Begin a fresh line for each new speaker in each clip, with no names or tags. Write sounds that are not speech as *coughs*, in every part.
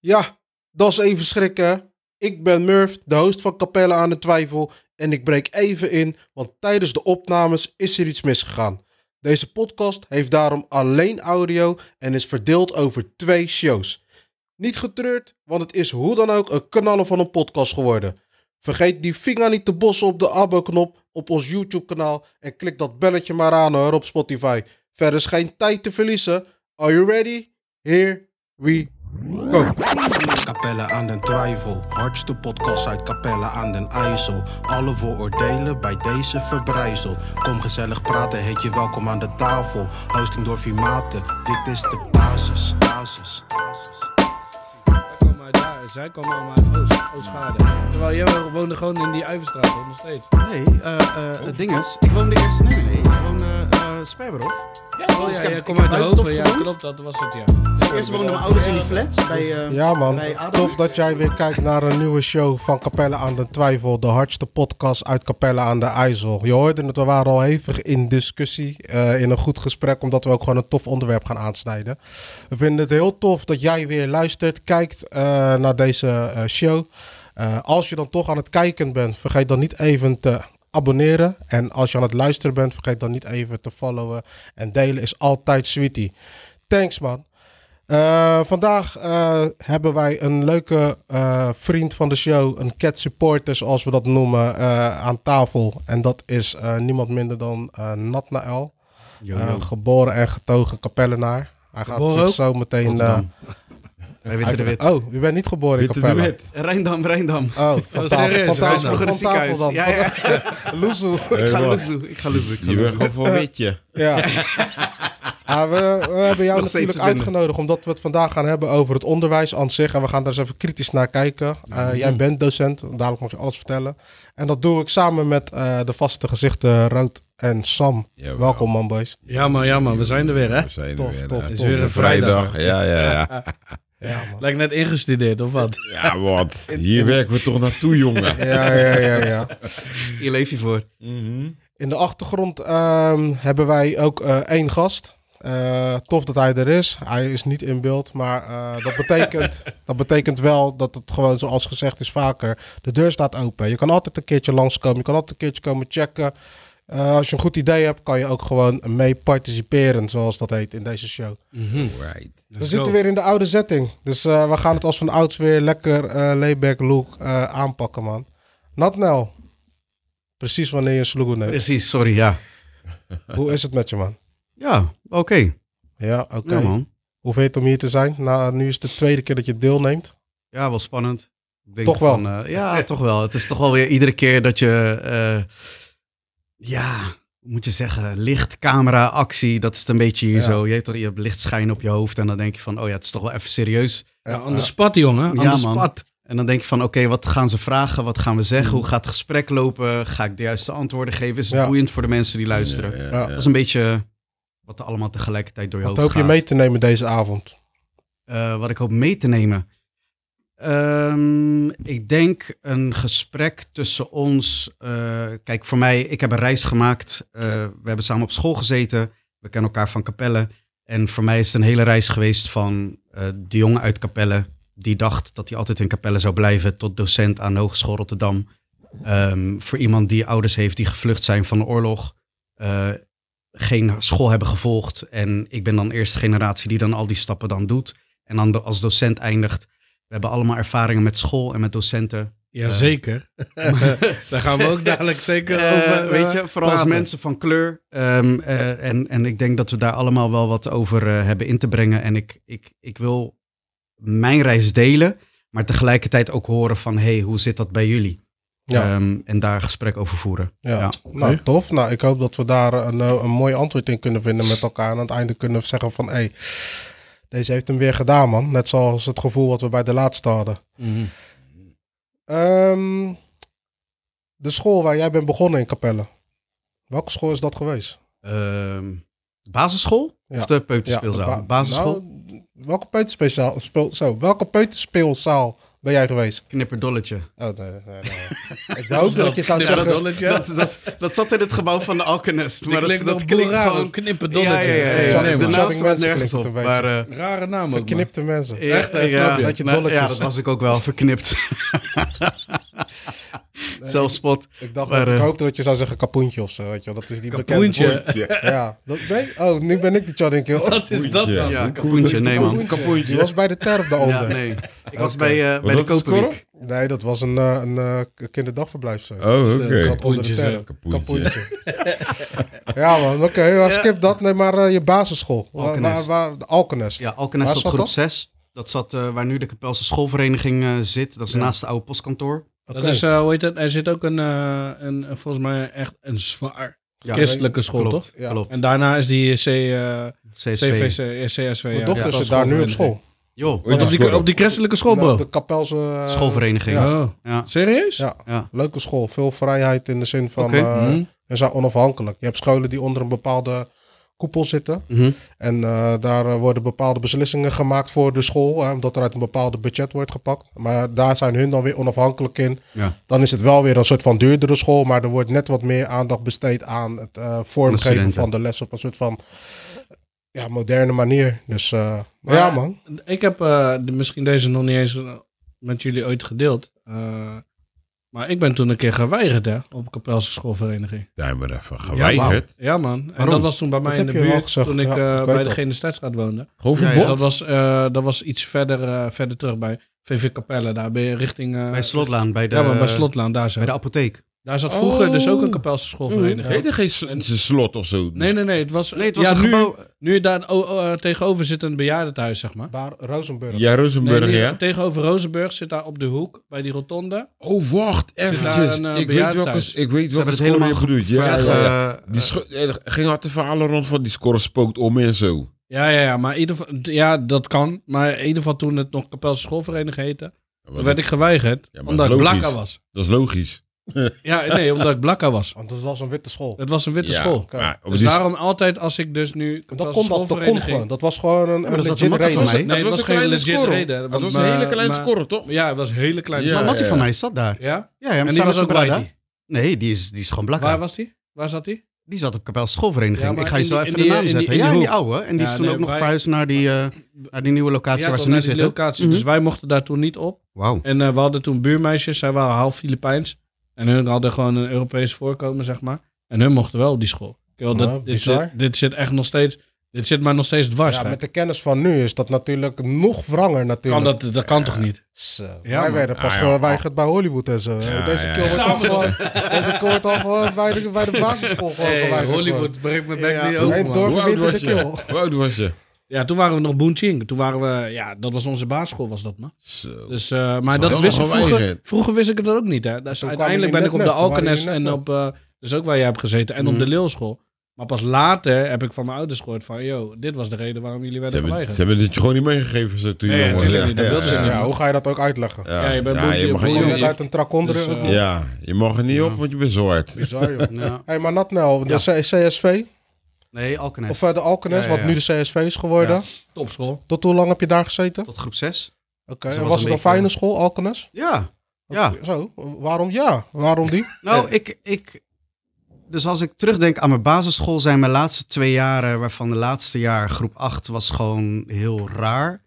Ja, dat is even schrikken. Ik ben Murph, de host van Capelle aan de Twijfel. En ik breek even in, want tijdens de opnames is er iets misgegaan. Deze podcast heeft daarom alleen audio en is verdeeld over twee shows. Niet getreurd, want het is hoe dan ook een knallen van een podcast geworden. Vergeet die vinger niet te bossen op de abo-knop op ons YouTube-kanaal en klik dat belletje maar aan hoor op Spotify. Verder is geen tijd te verliezen. Are you ready? Here we go. Capelle aan den Twijfel, hardste podcast uit Capelle aan den IJssel. Alle vooroordelen bij deze verbrijzel. Kom gezellig praten, heet je welkom aan de tafel. Hosting door Vimaten, dit is de basis, basis, basis.
Wij komen uit daar, zij komen allemaal uit Oost, Oostschade. Terwijl jij woonde gewoon in die Uiverstraat, hoor, nog steeds.
Nee, eh eh het ding is, ik woon de eerste. Nee, nee, nee, ik woon eh eh Sperberhof.
Ja,
dus ik
ja,
heb-
jij
ik
komt
heb
uit de
Huisstof
hoofd. Ja,
gewoond.
klopt, dat was het, ja.
Eerst woonden mijn ouders in die flats bij. eh
Ja man,
bij Adam.
tof dat jij weer kijkt naar een nieuwe show van Capelle aan de Twijfel. De hardste podcast uit Capelle aan de IJssel. Je hoorde het, we waren al hevig in discussie, eh, in een goed gesprek, omdat we ook gewoon een tof onderwerp gaan aansnijden. We vinden het heel tof dat jij weer luistert, kijkt eh, naar deze eh, show. Eh, als je dan toch aan het kijken bent, vergeet dan niet even te abonneren. En als je aan het luisteren bent, vergeet dan niet even te followen. En delen is altijd sweetie. Thanks man. Eh, vandaag eh, hebben wij een leuke eh, vriend van de show, een cat supporter zoals we dat noemen, eh, aan tafel. En dat is eh, niemand minder dan eh Natnael, Eh, geboren en getogen kapellenaar. Hij gaat
Geboren
zich
ook?
zo meteen... eh,
*laughs* Wij
hij-
weten de wit.
oh, je bent niet geboren in Capelle.
Rijndam, Rijndam.
Oh, van tafel,
serieus,
van
hij is
tafel, van
vroeger een
tafel
ziekenhuis.
dan.
Ja, ja.
*laughs* Loezoe.
Ik ga
Hey, wat?
loezoe, ik ga loezoe. ik ga
Je bent
loezoe.
gewoon voor witje.
Ja.
*laughs*
Maar we, we hebben jou
Nog steeds
natuurlijk
te vinden.
uitgenodigd omdat we het vandaag gaan hebben over het onderwijs aan zich. En we gaan daar eens even kritisch naar kijken. Eh,
Mhm.
Jij bent docent, dadelijk mag je alles vertellen. En dat doe ik samen met eh, de vaste gezichten Rood en Sam.
Jawel.
Welkom man boys.
Ja, maar ja, maar we zijn er weer, hè?
We zijn
Tof,
er weer.
tof,
hè.
tof.
Het
is weer een
vrijdag. Ja, ja,
*laughs*
ja.
Ja, man.
Lijkt net ingestudeerd, of wat?
Ja, wat. Hier werken we toch naartoe, jongen.
Ja, ja, ja, ja.
Hier leef je voor.
In de achtergrond ehm, hebben wij ook eh, één gast. Eh, tof dat hij er is. Hij is niet in beeld, maar eh, dat, betekent, dat betekent wel dat het gewoon, zoals gezegd is vaker, de deur staat open. Je kan altijd een keertje langskomen, je kan altijd een keertje komen checken. Eh, als je een goed idee hebt, kan je ook gewoon mee participeren, zoals dat heet in deze show.
Right.
We zitten weer in de oude setting, dus eh, we gaan het als van ouds weer lekker eh layback look eh, aanpakken, man. Natnel, precies wanneer je een sloegen neemt.
Precies, sorry, ja.
Hoe is het met je, man?
Ja, oké.
Ja, oké.
Ja, man.
Hoe vind je het om hier te zijn? Nou, nu is het de tweede keer dat je deelneemt.
Ja, wel spannend. Ik denk
Toch wel.
van, eh, ja, toch wel. Het is toch wel weer iedere keer dat je. eh, ja, hoe moet je zeggen? Licht, camera, actie. Dat is het een beetje hier
Ja.
zo. Je hebt, toch, je hebt lichtschijn op je hoofd. En dan denk je van, oh ja, het is toch wel even serieus.
Ja, aan de spat, jongen. Aan
Ja,
de
man.
spat.
En dan denk je van, oké, wat gaan ze vragen? Wat gaan we zeggen?
Mm.
Hoe gaat het gesprek lopen? Ga ik de juiste antwoorden geven? Is het
Ja.
boeiend voor de mensen die luisteren?
Ja,
Ja.
ja.
Dat is een beetje wat er allemaal tegelijkertijd door je
Wat
hoofd
hoop je
gaat.
mee te nemen deze avond?
Eh, wat ik hoop mee te nemen? Ehm, ik denk een gesprek tussen ons. eh, kijk, voor mij, ik heb een reis gemaakt. Eh, we hebben samen op school gezeten. We kennen elkaar van Capelle. En voor mij is het een hele reis geweest van eh, de jongen uit Capelle. Die dacht dat hij altijd in Capelle zou blijven. Tot docent aan de Hogeschool Rotterdam. Ehm, voor iemand die ouders heeft die gevlucht zijn van de oorlog. eh, geen school hebben gevolgd. En ik ben dan de eerste generatie die dan al die stappen dan doet. En dan do- als docent eindigt. We hebben allemaal ervaringen met school en met docenten. *laughs*
Jazeker. Daar gaan we ook dadelijk zeker
Eh,
over eh,
weet je, vooral als
praten.
mensen van kleur. Ehm, eh, en, en ik denk dat we daar allemaal wel wat over eh, hebben in te brengen. En ik, ik, ik wil mijn reis delen, maar tegelijkertijd ook horen van... hé, hey, hoe zit dat bij jullie?
Ja.
Ehm, en daar gesprek over voeren.
Ja.
ja.
Nou, tof. Nou, ik hoop dat we daar een, eh, een mooi antwoord in kunnen vinden met elkaar. En aan het einde kunnen we zeggen van, hé, hey, deze heeft hem weer gedaan, man. Net zoals het gevoel wat we bij de laatste hadden.
Mhm.
Ehm, de school waar jij bent begonnen in Capelle. Welke school is dat geweest?
Ehm, basisschool
Ja.
of de
Ja,
peuterspeelzaal?
de ba-
basisschool?
Nou, welke peuterspeelzaal, speel, zo, welke peuterspeelzaal ben jij geweest?
Knipperdolletje.
Oh, nee, nee, nee. ik wou ook dat ik je zou
dat
zeggen.
dolletje.
Dat, dat, dat zat in het gebouw van de Alkenest. Maar dat,
klinkt
dat
nog
klinkt
raar,
gewoon
een knippendolletje.
Ja, ja, ja, ja.
Ja,
Zat- zat
nee, man.
ik
Daarnaast staat
mensen
nergens
klinkt
op.
het een
Maar, eh,
Rare naam ook, man.
Verknipte mensen.
ja,
Echt, hè, snap je?
Dat je
nou,
dolletjes-
Ja, dat was ik ook
*laughs*
wel verknipt. Zelfspot.
Ik dacht,
Maar,
dat ik
eh,
hoopte dat je zou zeggen kapoentje of zo, weet je wel. Dat is die bekende.
Kapoentje.
Ja, dat ben Oh, nu ben ik de Chad, denk ik. Oh,
*laughs* Wat is dat
Kapoentje.
dan?
Ja, kapoentje. Nee, man.
Die was bij de terp de
Ja,
onder. nee.
nee. Ik was bij, eh bij de
dat een
Koperwiek.
dat was een, eh, een eh, kinderdagverblijf zo.
Oh, oké.
Ik zat onder de
Kapoentje,
terp.
zeg.
Kapoentje. ja man, oké, maar skip dat. Nee, maar eh, je basisschool. Waar, waar,
Alkenest.
waar, de Alkenest.
Ja,
Waar
Alkenest op
zat
groep
dat?
6. Dat zat eh, waar nu de Kapelse Schoolvereniging eh, zit. Dat is naast het oude postkantoor.
Dat
Oké.
is, eh, hoe heet dat? Er zit ook een, eh, een, een- volgens mij echt een zwaar
Ja,
christelijke school,
klopt.
toch?
Ja.
Klopt.
En daarna is die C, eh,
CSV.
CVC, eh, CSV.
Mijn
ja,
dochter
dat
zit
was
daar nu op school.
Joh,
Want op die, op die christelijke school,
Nou,
bro?
de Kapelse... eh,
schoolvereniging.
Ja.
Ja.
Oh,
Ja.
serieus?
Ja,
Ja.
leuke school. Veel vrijheid in de zin van...
Oké.
eh,
Mhm.
en zijn onafhankelijk. Je hebt scholen die onder een bepaalde koepel zitten.
Mhm.
En eh, daar eh, worden bepaalde beslissingen gemaakt voor de school. hè, omdat er uit een bepaalde budget wordt gepakt. Maar daar zijn hun dan weer onafhankelijk in.
Ja.
Dan is het wel weer een soort van duurdere school. Maar er wordt net wat meer aandacht besteed aan het eh, vormgeven
studenten.
van de les. Op een soort van ja, moderne manier. Dus eh, maar ja man.
Ik heb eh, de- misschien deze nog niet eens eh, met jullie ooit gedeeld. Eh, maar ik ben toen een keer geweigerd, hè, op Kapelse schoolvereniging.
Daar maar even
Ja, man.
geweigerd.
Ja, man. En
Waarom?
dat was toen bij mij
Dat
in de
heb je wel
buurt,
gezegd.
toen ik
Ja,
eh,
ik weet
bij de
dat.
Genestraatstraat woonde.
Gewoon
Ja, ja.
Dus
verbod.
dat was, eh, dat was iets verder, eh, verder terug bij VV Capelle. Daar ben je richting... eh,
Bij Slotlaan, bij de,
Ja, maar bij Slotlaan, daar zo.
bij de apotheek.
Daar zat vroeger dus ook een
Oh.
Kapelse schoolvereniging.
Heet er geen sl- een slot of zo?
Nee, nee, nee. Het was,
Nee, het was
ja,
een
nu-
gebouw.
Nu, daar o- o- eh, tegenover zit een bejaardentehuis, zeg maar.
Waar Rozenburg.
Ja, Rosenburg,
Nee, nu-
ja.
Tegenover Rozenburg zit daar op de hoek, bij die rotonde.
Oh, wacht,
daar
eventjes.
een, eh,
ik, weet
bejaardentehuis?
welke, ik weet
hebben
welke
het
score
helemaal
je bedoelt. Ja,
Echt,
ja, ja.
eh,
Die scho- eh, ging hard te verhalen rond van die score spookt om en zo.
Ja, ja, ja. Maar in ieder geval, ja, dat kan. Maar in ieder geval toen het nog Kapelse schoolvereniging heette,
Ja, maar
toen werd ik geweigerd.
Ja, maar
omdat ik
logisch.
blakka was.
Dat is logisch.
Ja, nee, omdat ik blakka was.
Want het was een witte school.
Het was een witte
ja,
school.
Oh, Maar, op
Dus
die-
daarom altijd als ik dus nu
Dat
Kapelse
kon, dat, dat kon
schoolvereniging...
gewoon. Dat was gewoon een, een
dat zat
legit
de matten van
reden.
mij.
Nee,
dat
het
was
was
een
geen
kleine
legit
score.
reden.
Dat
want
was een hele
mijn-
kleine
mijn-
score, toch?
Ja, het was een hele kleine
Ja,
maar
score.
Mattie
ja.
van mij zat daar.
Ja?
Ja, ja
En
maar
die
samen
was
met
ook
zijn
bij
Brada. Nee, die is, die is gewoon blakka.
Waar was die? Waar zat die?
Die zat op Kapel
Ja,
Schoolvereniging.
maar
ik ga je
in
zo
die-
even
in
de
die-
naam
in die-
zetten.
in die
ja, in die
hoek.
oude. En die
Ja,
is toen
nee,
ook nog
wij-
verhuisd naar die, eh, naar die nieuwe locatie
Ja,
waar
toch,
ze nu
naar die
zitten.
locatie.
Mhm.
Dus wij mochten daar toen niet op.
Wauw.
En eh, we hadden toen buurmeisjes, zij waren half Filipijns. En hun hadden gewoon een Europees voorkomen, zeg maar. En hun mochten wel op die school. Ik wil dat,
Nou,
dit,
bizar.
zit, dit zit echt nog steeds, dit zit maar nog steeds dwars.
Ja,
hè.
met de kennis van nu is dat natuurlijk nog wranger natuurlijk.
kan dat, dat kan toch niet?
Zo.
Ja,
wij
man.
werden pas
Ah, ja.
geweigerd bij Hollywood en zo. deze
ja,
keer wordt
ja.
al gewoon, deze keer wordt al gewoon bij de, bij de basisschool gewoon geweigerd.
breekt mijn
bek niet
open, Nee, man. door-
Hoe oud
Winter
was
de
je?
Kill.
Hoe oud was je?
Ja, toen waren we nog Boonching. Toen waren we, ja, dat was onze basisschool was dat, man.
Zo.
Dus, eh, maar dat
dan
wist ik
nog wel
vroeger,
eigen.
vroeger wist ik dat ook niet. Hè. Dus
Toen
uiteindelijk ben
kwamen
ik op
jullie
de
net net, toen
Alkenes
waren
en op, eh, dus ook waar jij hebt gezeten, en op de Leelschool. Maar pas later heb ik van mijn ouders gehoord van, yo, dit was de reden waarom jullie
Ze
werden
hebben, ze
geweigerd.
hebben dit je gewoon niet meegegeven zo, toen
Nee,
je jong was.
natuurlijk niet. Dat wilden ze
Ja,
niet.
hoe ga je dat ook uitleggen?
Ja,
Ja, je bent
ja,
boemtje,
je mag
Je
boemtje.
komt net
Jongen,
niet-
uit een trak onder.
Dus, eh,
ja, je mag er niet op, want je bent zwart.
Bizar, joh.
Ja.
Hey, maar Natnel, de C- CSV,
Nee, Alkenes.
of eh, de Alkenes,
Ja, ja, ja.
wat nu de CSV is geworden.
Ja.
Topschool.
Tot hoe lang heb je daar gezeten? Oké,
Tot groep 6.
en
Ze was
was,
een
het een
beetje-
fijne school, Alkenes?
Ja. Ja.
Zo, waarom ja? Waarom die?
Nou, ik, ik. Dus als ik terugdenk aan mijn basisschool, zijn mijn laatste twee jaren, waarvan de laatste jaar groep 8 was gewoon heel raar.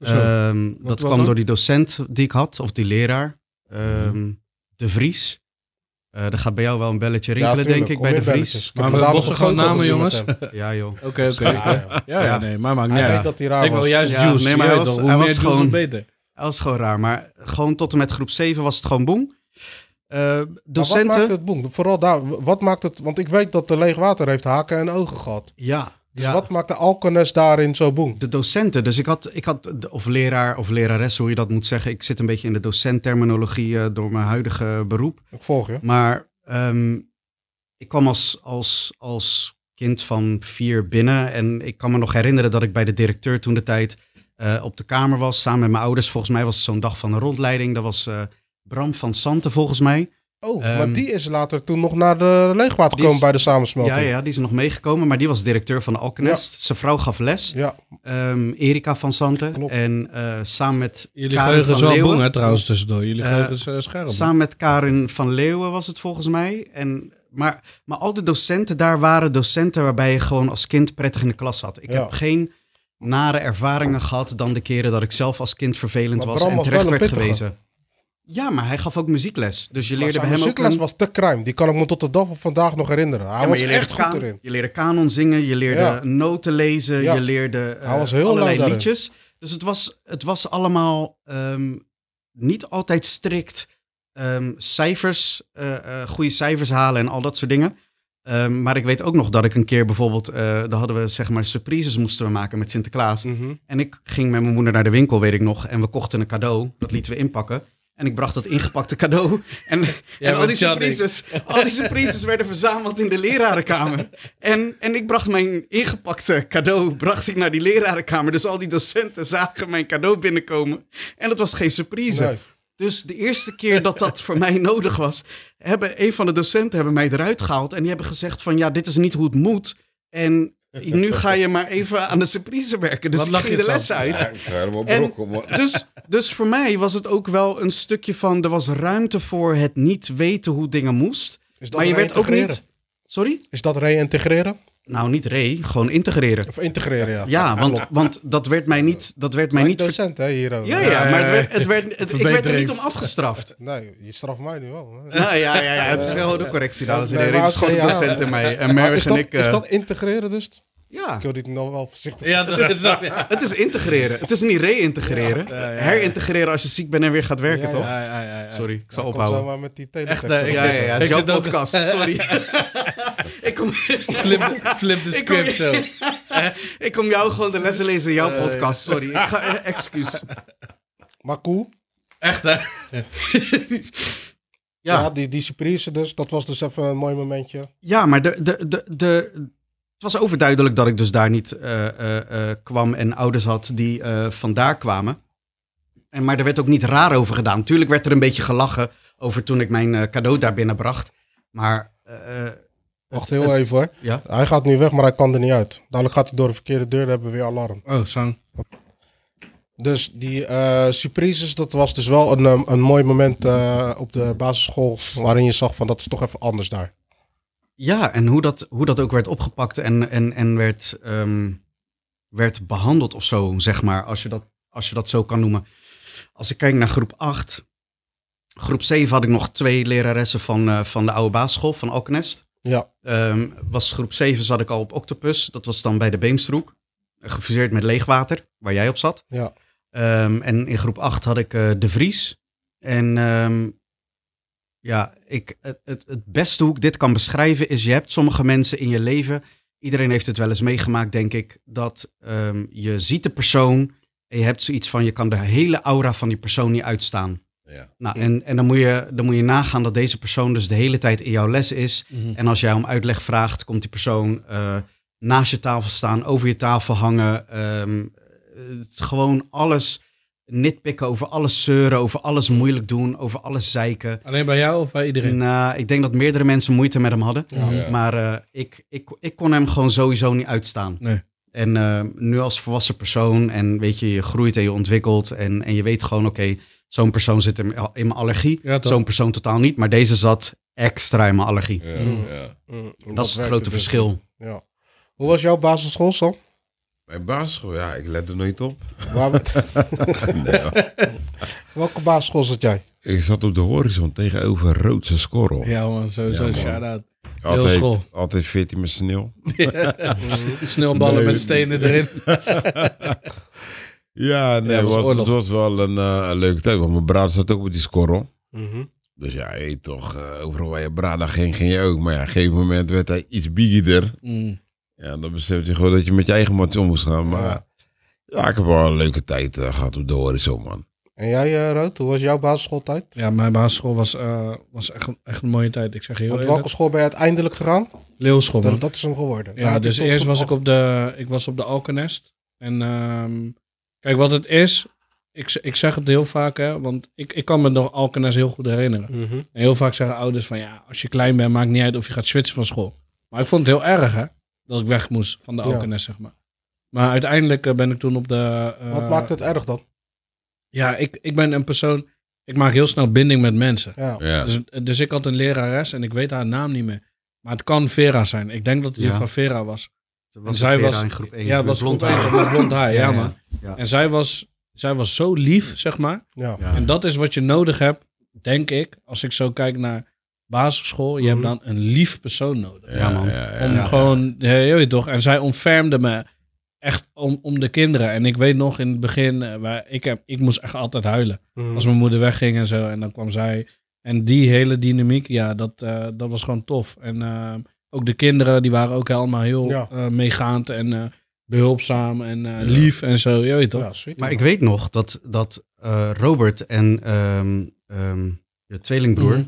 Zo.
Ehm,
Wat-
dat
wat
kwam
dan?
door die docent die ik had, of die leraar,
Mhm.
Ehm, De Vries. Eh er gaat bij jou wel een belletje rinkelen, denk ik, bij De Vries.
Maar we bossen gewoon namen, jongens.
Oké,
*laughs* Ja, joh.
Oké, oké. Ja, ja, nee, maar maakt niet
Hij weet
uit.
dat hij raar
Ik wil
was.
juist
Ja,
juice.
nee,
Nee,
maar
maar
hij was-
hoe
hij
meer
was
juice, hoe
gewoon-
beter.
Dat was gewoon raar, maar gewoon tot en met groep 7 was het gewoon boem. Eh,
Maar Wat maakt
docenten.
het boem? Vooral daar, wat maakt het? Want ik weet dat de leegwater heeft haken en ogen gehad.
Ja,
Dus
ja.
wat maakt de Alkenes daarin zo boem?
de docenten. Dus ik had, ik had de- of leraar of lerares, hoe je dat moet zeggen. Ik zit een beetje in de docentterminologie eh, door mijn huidige beroep.
Ik volg je.
Maar ehm, ik kwam als, als, als kind van vier binnen. En ik kan me nog herinneren dat ik bij de directeur toen de tijd eh, op de kamer was. Samen met mijn ouders. Volgens mij was het zo'n dag van een rondleiding. Dat was eh, Bram van Santen volgens mij.
Oh,
Ehm,
maar die is later toen nog naar de leegwater
die is-
gekomen bij de samensmelting.
Ja, ja, die is nog meegekomen, maar die was directeur van de Alkenest. Zijn vrouw gaf les,
Ja,
ehm, Erika van Santen.
Klopt.
En eh, samen met
Jullie
Karen
geheugen is
van
wel
Leeuwen.
bong, hè, trouwens, tussendoor. Jullie
Eh,
geheugen is eh, scherp.
Samen met Karin van Leeuwen was het volgens mij. En, maar, maar al de docenten daar waren docenten waarbij je gewoon als kind prettig in de klas zat. Ik
Ja.
heb geen nare ervaringen gehad dan de keren dat ik zelf als kind vervelend
Maar
was
Bram
en
was
terecht
wel een
werd
pittige.
gewezen. Ja, maar hij gaf ook muziekles. Dus je
maar
leerde
zijn
bij hem ook...
muziekles
een-
was te crime. Die kan ik me tot de dag van vandaag nog herinneren. Hij
Ja, maar
was
je leerde
echt
kan-
goed erin.
Je leerde kanon zingen, je leerde
Ja.
noten lezen,
Ja.
je leerde eh,
Hij was heel lui
allerlei
daarin.
liedjes. Dus het was, het was allemaal ehm, niet altijd strikt ehm, cijfers, eh, eh, goede cijfers halen en al dat soort dingen. Ehm, maar ik weet ook nog dat ik een keer bijvoorbeeld, eh daar hadden we zeg maar surprises moesten we maken met Sinterklaas.
Mhm.
En ik ging met mijn moeder naar de winkel, weet ik nog. En we kochten een cadeau. Dat lieten we inpakken. En ik bracht dat ingepakte cadeau. *laughs* En, en al,
bent Chadwick.
die surprises, al die surprises werden verzameld in de lerarenkamer. En, en ik bracht mijn ingepakte cadeau bracht ik naar die lerarenkamer. Dus al die docenten zagen mijn cadeau binnenkomen. En dat was geen surprise.
Nee.
Dus de eerste keer dat dat voor mij nodig was, hebben een van de docenten hebben mij eruit gehaald. En die hebben gezegd van ja, dit is niet hoe het moet. En nu ga je maar even aan de surprise werken. Dus
Wat
ik
lach
ging
je
de
van?
les uit.
Ja, ik ga helemaal
En-
brokken, *laughs* man.
Dus, dus voor mij was het ook wel een stukje van, er was ruimte voor het niet weten hoe dingen moest.
Is dat
Maar je werd ook
reintegreren?
niet... Sorry?
Is dat reïntegreren?
Nou, niet re, gewoon integreren.
Of integreren, ja.
Ja, want,
klopt.
want dat werd mij niet, dat werd mij
Mijn
niet ver-
docent, hè, hier. ook.
Ja, ja, maar het werd, het werd, het- ik werd er niet
Verbetering.
om afgestraft.
*laughs* Nee, je straft mij nu wel. hè.
Nou ja, ja, ja, het is wel een correctie, dames en
Nee,
heren. Het is
maar
gewoon de
oké, ja.
docent in mij. En
Maar is
Merwig en
dat,
ik...
is
eh,
dat integreren dus?
Ja,
Ik wil dit nog wel voorzichtig.
Ja, dat is dat. *laughs* Ja,
het is integreren. Het is niet re-integreren.
Ja, ja, ja.
Herintegreren als je ziek bent en weer gaat werken,
Ja, ja.
toch?
ja, ja, ja.
Sorry, ik zal
Kom
ophouden.
zomaar met die
Echt,
teletext.
eh, ik-
Ja, ja, ja. Het is
Ik
jouw
zit ook-
podcast, sorry. *laughs* ik, kom, *laughs*
Flip, flip de
Ik kom-
script zo.
ik kom jou gewoon de lessen lezen in jouw podcast, sorry. Ik ga, eh, excuus.
Maar cool.
Echt, hè?
Ja,
Ja,
die, die surprise dus. Dat was dus even een mooi momentje.
ja maar de, de, de, de, het was overduidelijk dat ik dus daar niet eh, eh, eh, kwam en ouders had die eh, vandaar kwamen. En, maar er werd ook niet raar over gedaan. Tuurlijk werd er een beetje gelachen over toen ik mijn eh, cadeau daar binnenbracht. Maar eh, eh,
Wacht heel even hoor.
ja.
Hij gaat nu weg, maar hij kan er niet uit. Dadelijk gaat hij door de verkeerde deur, dan hebben we weer alarm.
Oh, zang.
Dus die eh, surprises, dat was dus wel een, ehm, een mooi moment eh, op de basisschool. Waarin je zag van dat is toch even anders daar.
Ja, en hoe dat, hoe dat ook werd opgepakt en, en, en werd, ehm, werd behandeld of zo, zeg maar, als je, dat, als je dat zo kan noemen. Als ik kijk naar groep 8, groep 7 had ik nog twee leraressen van, eh, van de oude basisschool, van Alkenest.
Ja,
Ehm, was groep 7 zat ik al op Octopus, dat was dan bij de Beemstroek, gefuseerd met Leegwater, waar jij op zat.
ja.
Ehm, en in groep 8 had ik eh, De Vries. En ehm, ja, ik, het, het, het beste hoe ik dit kan beschrijven is: je hebt sommige mensen in je leven. Iedereen heeft het wel eens meegemaakt, denk ik. Dat ehm, je ziet de persoon en je hebt zoiets van: je kan de hele aura van die persoon niet uitstaan.
Ja.
Nou, en, en dan, moet je, dan moet je nagaan dat deze persoon dus de hele tijd in jouw les is. En als jij om uitleg vraagt, komt die persoon eh, naast je tafel staan, over je tafel hangen. ehm, het, gewoon alles nitpikken, over alles zeuren, over alles moeilijk doen, over alles zeiken.
Alleen bij jou of bij iedereen?
En, eh, ik denk dat meerdere mensen moeite met hem hadden.
Ja.
Maar eh, ik, ik, ik kon hem gewoon sowieso niet uitstaan.
Nee.
En eh, nu als volwassen persoon en weet je, je groeit en je ontwikkelt en, en je weet gewoon, oké, zo'n persoon zit in, mijn- in mijn allergie.
Ja, toch.
zo'n persoon totaal niet, maar deze zat extra in mijn allergie.
Ja, ja.
Mm,
dat is het
werkte
grote
dus.
verschil.
Ja. Hoe was jouw basisschool, Sam?
Mijn basisschool, ja, ik let er nooit op.
Waar-
*laughs*
*laughs* Welke basisschool zat jij?
Ik zat op de horizon tegenover Roodse Skorrel.
Ja, man, sowieso
Mm. Ja, man.
shout-out. Heel
altijd,
school.
altijd 14 met sneeuw.
Sneeuwballen met stenen erin.
Ja, nee,
Ja,
het
was
was,
oorlog.
het was wel een, eh, een leuke tijd. Want mijn braad zat ook op die skorrel.
Mhm.
Dus ja, je weet toch, eh, overal waar je braad naar ging, ging je ook. Maar ja, op een gegeven moment werd hij iets bigger.
*laughs* Mm.
Ja, dan besef je gewoon dat je met je eigen mats om moest gaan. Maar ja, ik heb wel een leuke tijd eh, gehad op de horizon, man.
En jij, eh, Rood, hoe was jouw basisschooltijd?
Ja, mijn basisschool was, eh, was echt, een- echt een mooie tijd. Ik zeg je heel
Want welke
eerlijk.
school ben je uiteindelijk gegaan?
Leeuwschool, man.
Dat, dat is hem geworden. Nou,
Ja, dus eerst was ik op de, ik was op de Alkenest. En ehm, kijk, wat het is, ik, ik zeg het heel vaak, hè, want ik, ik kan me nog Alkena's heel goed herinneren. En heel vaak zeggen ouders van ja, als je klein bent, maakt niet uit of je gaat switchen van school. Maar ik vond het heel erg hè, dat ik weg moest van de
Ja.
Alkenes, zeg maar. Maar uiteindelijk eh, ben ik toen op de... eh,
Wat maakt het erg dan?
Ja, ik, ik ben een persoon, ik maak heel snel binding met mensen.
Ja.
Ja.
Dus, dus ik had een lerares en ik weet haar naam niet meer. Maar het kan Vera zijn. Ik denk dat het
Ja.
juffrouw Vera was.
Ze
En
was
zij
zij
was-
was, in groep 1.
ja, was blond haar. Met blond haar, *laughs* ja, man. En zij was, zij was zo lief, zeg maar.
Ja.
Ja.
En dat is wat je nodig hebt, denk ik, als ik zo kijk naar basisschool. Je hebt dan een lief persoon nodig.
Ja, man.
Ja,
Om
ja.
gewoon, ja, je weet toch. En zij ontfermde me echt om, om de kinderen. En ik weet nog in het begin, eh, waar ik, heb, ik moest echt altijd huilen. Als mijn moeder wegging en zo. En dan kwam zij. En die hele dynamiek, ja, dat, eh, dat was gewoon tof. En eh, ook de kinderen, die waren ook helemaal heel
Ja.
eh, meegaand en eh, behulpzaam en eh, lief en zo. Je weet toch?
Ja, sweet.
Maar ik weet nog dat, dat eh, Robert en ehm, ehm, je tweelingbroer...
Mhm.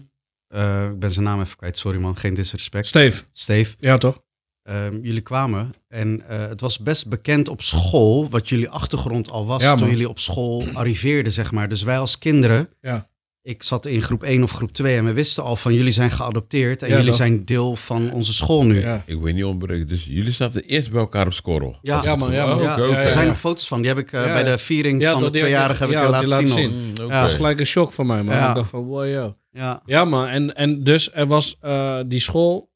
eh, ik ben zijn naam even kwijt, sorry man, geen disrespect.
Steve,
Steve,
ja toch?
ehm, jullie kwamen en eh, het was best bekend op school... wat jullie achtergrond al was
Ja, man.
toen jullie op school arriveerden, zeg maar. Dus wij als kinderen...
Ja.
Ik zat in groep 1 of groep 2 en we wisten al van jullie zijn geadopteerd... en
Ja,
jullie
dat-
zijn deel van onze school nu.
Ja.
Ik weet niet ontbreken. Dus jullie snapten eerst bij elkaar op scorrel.
Ja.
Dat is
Ja, man,
goed.
ja, man.
Oh,
Ja,
oké, oké.
ja,
Er zijn
ja.
nog foto's van, die heb ik eh,
Ja,
bij
ja.
de viering
Ja,
van de
dat die-
tweejarige heb
ja,
ik je
dat die
laten,
laten
zien. nog.
zien.
Mm, oké.
Ja.
Dat was gelijk een shock voor mij, man.
Ja.
Ik dacht van, wow, yo.
Ja.
Ja, man. En, en dus er was eh, die school,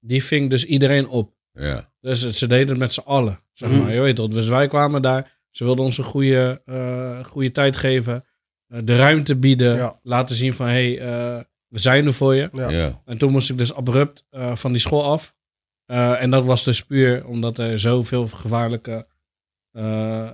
die ving dus iedereen op.
Ja.
Dus het- ze deden het met z'n allen, zeg maar.
Mhm.
Je weet dat. Dus wij kwamen daar. Ze wilden ons een goede, eh, goede tijd geven. eh, de ruimte bieden.
Ja.
Laten zien van, hé, hey, eh, we zijn er voor je.
Ja.
Ja.
En toen moest ik dus abrupt eh, van die school af. Eh, en dat was dus puur omdat er zoveel gevaarlijke eh,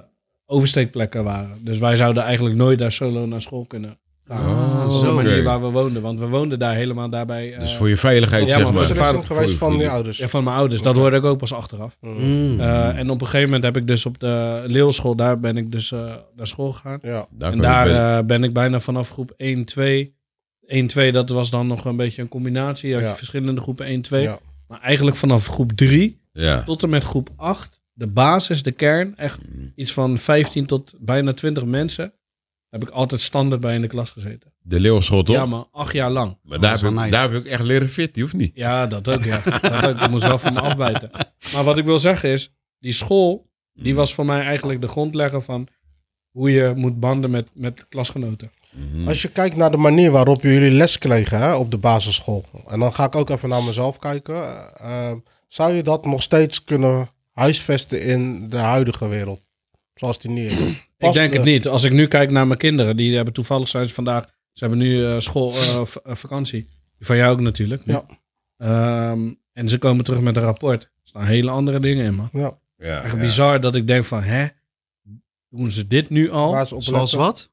oversteekplekken waren. Dus wij zouden eigenlijk nooit daar solo naar school kunnen gaan.
Ah,
Op de
zo.
manier
Oké.
waar we woonden. Want we woonden daar helemaal daarbij eh,
Dus voor je veiligheid,
Ja,
zeg
man,
maar.
voor de
Selectie geweest van je
ja.
ouders.
ja, van mijn ouders. Dat hoorde ik ook pas achteraf.
Mm.
Eh, en op een gegeven moment heb ik dus op de leeuwschool, daar ben ik dus eh, naar school gegaan.
Ja.
Daar
en
kan je
daar
bij-
eh, ben ik bijna vanaf groep 1, 2. 1, 2, dat was dan nog een beetje een combinatie. Je had
Ja.
je verschillende groepen 1, 2.
Ja.
Maar eigenlijk vanaf groep 3
ja.
tot en met groep 8, de basis, de kern, echt iets van 15 tot bijna 20 mensen, heb ik altijd standaard bij in de klas gezeten.
De Leeuwenschool, toch?
Ja, maar acht jaar lang.
Maar daar
Dat is
heb, ik,
wel nice.
daar heb ik echt leren fit, die hoeft niet.
Ja, dat ook, ja. *laughs* dat ook. Ik moest wel van me afbijten. Maar wat ik wil zeggen is, die school, die was voor mij eigenlijk de grondlegger van hoe je moet banden met, met klasgenoten.
Als je kijkt naar de manier waarop jullie les kregen hè, op de basisschool. En dan ga ik ook even naar mezelf kijken. eh, eh, zou je dat nog steeds kunnen huisvesten in de huidige wereld? Zoals die nu is. Past
ik denk
de-
het niet. Als ik nu kijk naar mijn kinderen, die hebben toevallig zijn ze vandaag, ze hebben nu eh, school, eh, v- eh, vakantie. Die Van jou ook natuurlijk. nu.
Ja.
Ehm, en ze komen terug met een rapport. Er staan hele andere dingen in, man.
Ja,
Ja,
Echt
ja.
bizar dat ik denk van, hè? Doen ze dit nu al?
waar ze op
Zoals
letten.
wat?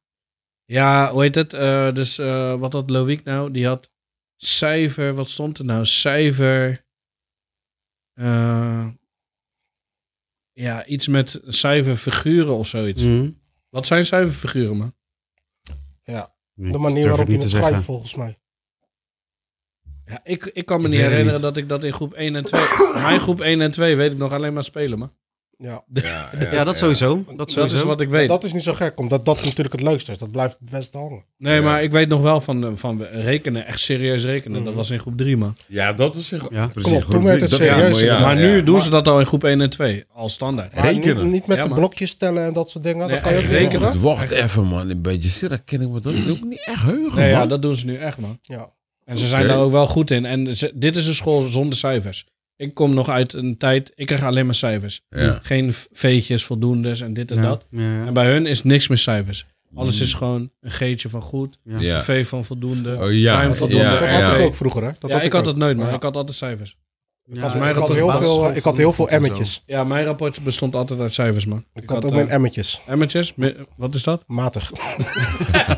Ja, hoe heet het? Eh, dus eh, wat had Loïc nou? Die had cijfer, wat stond er nou? Cijfer. eh, ja, iets met cijferfiguren of zoiets.
Mm.
Wat zijn cijferfiguren, man?
De manier waarop je het schrijft volgens mij.
Ja, ik, ik kan me niet
weet het
herinneren
niet.
dat ik dat in groep 1 en 2. *coughs* Mijn groep 1 en 2 weet ik nog alleen maar spelen, man.
Ja.
Ja, ja,
Ja, dat
ja.
sowieso. Dat
Dat
sowieso.
is wat ik weet.
Dat is niet zo gek, omdat dat natuurlijk het leukste is. Dat blijft het beste hangen.
Nee,
Ja.
maar ik weet nog wel van, eh, van rekenen, echt serieus rekenen. Dat
Mhm.
was in groep 3, man.
Ja, dat is echt...
Ja.
precies.
Klopt, toen
Goed,
werd het
dat-
serieus
ja,
inderdaad.
maar nu
ja.
doen ze dat al in groep 1 en 2, al standaard.
Maar niet,
Rekenen.
niet met
Ja,
de
man.
blokjes tellen en dat soort dingen.
Nee,
dat kan je ook
echt
niet
rekenen.
doen.
Goed, Wacht even, man. Een beetje zin, ken ik me dat ook niet echt heugen,
Nee, ja,
man.
dat doen ze nu echt, man.
Ja.
En ze zijn
Oké.
daar ook wel goed in. En ze- dit is een school zonder cijfers. Ik kom nog uit een tijd, ik krijg alleen maar cijfers.
Ja.
Geen v- veetjes, voldoendes en dit en dat. En bij hun is niks meer cijfers. Alles
Mm.
is gewoon een geetje van goed,
Ja.
een v van voldoende,
Oh, ja.
ruim
Dat,
voldoende.
Ja,
dat
en
had ik
V.
ook vroeger. Hè? Dat
Ja, ik had dat
ook.
nooit, man.
Ja.
Ik had altijd cijfers.
Ik had-
mij
ik had
dat op de
heel veel,
basisschool
eh, Ik had heel veel
vond ik het
emmetjes.
Ja, mijn rapport bestond altijd uit cijfers, man.
Ik had ook mijn
eh,
emmetjes.
emmertjes. Mi- Wat is dat?
Matig.
*laughs*
*laughs*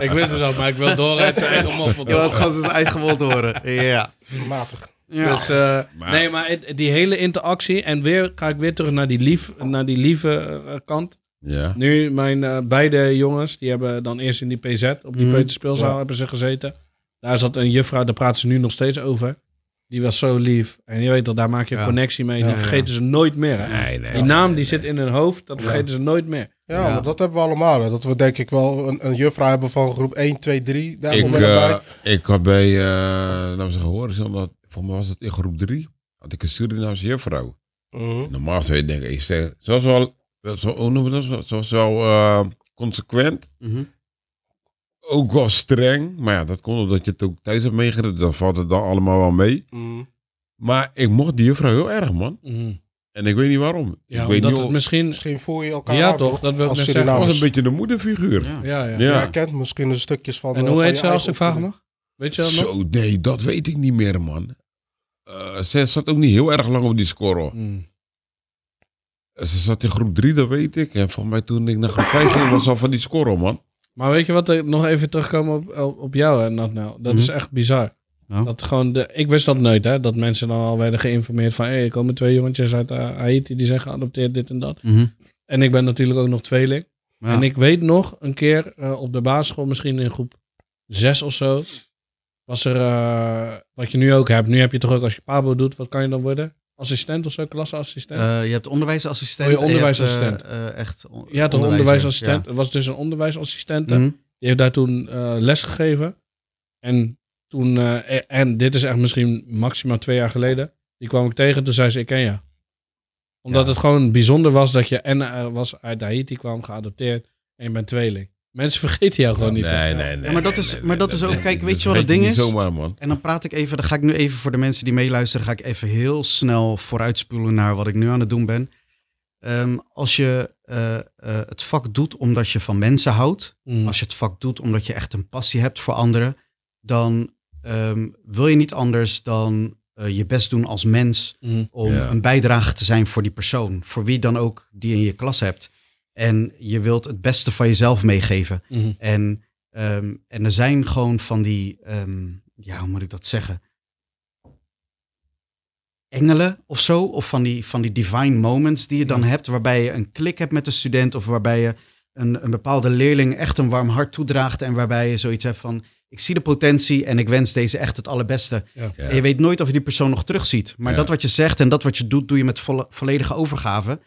ik wist het al, maar ik wil doorrijden. zijn eigen moffel.
Je wilt gewoon zijn dus eigen woord horen. *laughs* Ja.
Matig.
Dus, eh,
Maar-
nee, maar het- die hele interactie. En weer ga ik weer terug naar die, lief, naar die lieve eh, kant.
Ja.
Nu, mijn eh, beide jongens, die hebben dan eerst in die PZ, op die
Mhm.
peuterspeelzaal
Ja.
hebben ze gezeten. Daar zat een juffrouw, daar praten ze nu nog steeds over. Die was zo lief. En je weet dat daar maak je een
Ja.
connectie mee. Die
Ja, ja.
vergeten ze nooit meer. Hè?
Nee, nee.
die naam die zit in hun hoofd, dat vergeten ze nooit meer.
Ja,
Ja.
maar dat hebben we allemaal. hè. Dat we denk ik wel een, een juffrouw hebben van groep 1, 2, 3. Daar
Ik,
moment
eh,
bij.
ik had bij, eh laten we zeggen, Horizon, dat, volgens mij was dat in groep 3, had ik een Surinaamse juffrouw.
Mhm.
Normaal zou je denken, ik zeg, ze was wel, zo, hoe noemen we dat? Ze was wel eh, consequent,
Mhm.
ook wel streng. Maar ja, dat komt omdat je het ook thuis hebt meegereden, dan valt het dan allemaal wel mee.
Mhm.
Maar ik mocht die juffrouw heel erg, man.
Mhm.
En ik weet niet waarom.
Ja,
ik weet
omdat
niet
het
of-
misschien...
Misschien voel je elkaar
Ja,
aan,
toch? Dat wil ik
Als
net zeggen.
het was
Surinamers.
een beetje de moederfiguur.
Ja.
Ja,
Ja.
ja.
Ja.
Je kent misschien de stukjes van...
En
eh,
hoe
van
heet
je
ze als ik
eigen
vraag
opvoeding.
mag? Weet je dat nog?
Zo, nee, dat weet ik niet meer, man. Eh, ze zat ook niet heel erg lang op die score. hoor. Eh,
Mhm.
Ze zat in groep 3, dat weet ik. En volgens mij toen ik naar groep 5 ging, was ze al van die score, man.
Maar weet je wat, eh, nog even terugkomen op, op, op jou en dat nou. Dat
Mhm.
is echt bizar.
Nou.
Dat gewoon de, ik wist dat nooit, hè. Dat mensen dan al werden geïnformeerd van... hé, er komen twee jongetjes uit eh, Haiti, die zijn geadopteerd, dit en dat.
Mhm.
En ik ben natuurlijk ook nog tweeling.
Ja.
En ik weet nog een keer eh, op de basisschool, misschien in groep zes of zo... was er, eh, wat je nu ook hebt. Nu heb je toch ook, als je pabo doet, wat kan je dan worden? Assistent of zo, klasseassistent?
Eh, je hebt onderwijsassistent.
Oh, je
en hebt,
onderwijsassistent.
eh, eh, echt on-
ja, toch
onderwijzer,
onderwijsassistent. Er was dus een onderwijsassistent.
ja. Mhm.
Die heeft daar toen eh, les gegeven. En toen, eh, e- en dit is echt misschien maximaal twee jaar geleden. Die kwam ik tegen, toen zei ze: Ik ken je. Omdat
Ja.
het gewoon bijzonder was dat je en eh, was uit Haiti kwam, geadopteerd. En je bent tweeling. Mensen *laughs* vergeten jou gewoon niet. hè?
nee.
Ja, maar dat is- maar dat is ook- kijk, weet je wat het
vergeet
ding
niet
is?
Zomaar, man.
En dan praat ik even, dan ga ik nu even voor de mensen die meeluisteren, ga ik even heel snel vooruitspoelen naar wat ik nu aan het doen ben. Ehm, als je eh, eh, het vak doet omdat je van mensen houdt,
Mm.
als je het vak doet omdat je echt een passie hebt voor anderen, dan ehm, wil je niet anders dan eh, je best doen als mens
Mm.
om
Ja.
een bijdrage te zijn voor die persoon, voor wie dan ook die je in je klas hebt. En je wilt het beste van jezelf meegeven.
Mhm.
En, ehm, en er zijn gewoon van die, ehm, ja, hoe moet ik dat zeggen? Engelen of zo, of van die, van die divine moments die je dan hebt, waarbij je een klik hebt met de student of waarbij je een, een bepaalde leerling echt een warm hart toedraagt en waarbij je zoiets hebt van, ik zie de potentie en ik wens deze echt het allerbeste.
Ja.
En je weet nooit of je die persoon nog terugziet. Maar
Ja.
dat wat je zegt en dat wat je doet, doe je met volle, volledige overgave.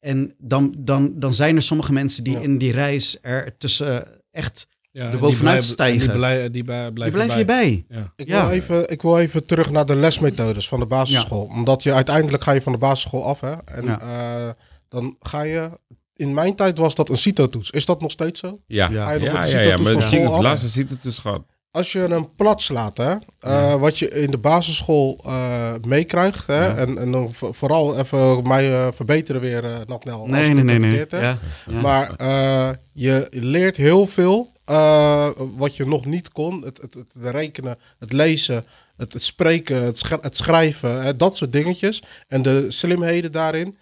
En dan, dan, dan zijn er sommige mensen die
Ja.
in die reis er tussen eh, echt...
Ja, en
er
die
bovenuit
blijven-
stijgen.
en Die, blij, die bij-
Die
blijven
blijven je
bij.
bij.
Ik,
Ja.
wil even, ik wil even terug naar de lesmethodes van de basisschool. Omdat je uiteindelijk ga je van de basisschool af. Hè? En
Ja.
eh, dan ga je... In mijn tijd was dat een CITO-toets. Is dat nog steeds zo?
Ja,
Ja.
ja,
Ga je nog
ja,
met de
ja,
CITO-toets
maar
van
het ging
school
het
af?
laatste ziet het dus gehad.
als je een plat slaat, hè, eh, wat je in de basisschool eh, meekrijgt, hè, en, en dan vo- vooral even mij eh, verbeteren weer, eh Natnel, als
Nee,
ik
nee,
het
nee. nee.
verkeerd heb.
Ja. Ja.
Maar eh, je leert heel veel eh, wat je nog niet kon. Het, het, het rekenen, het lezen, het, het spreken, het, sch- het schrijven. Hè, dat soort dingetjes. En de slimheden daarin.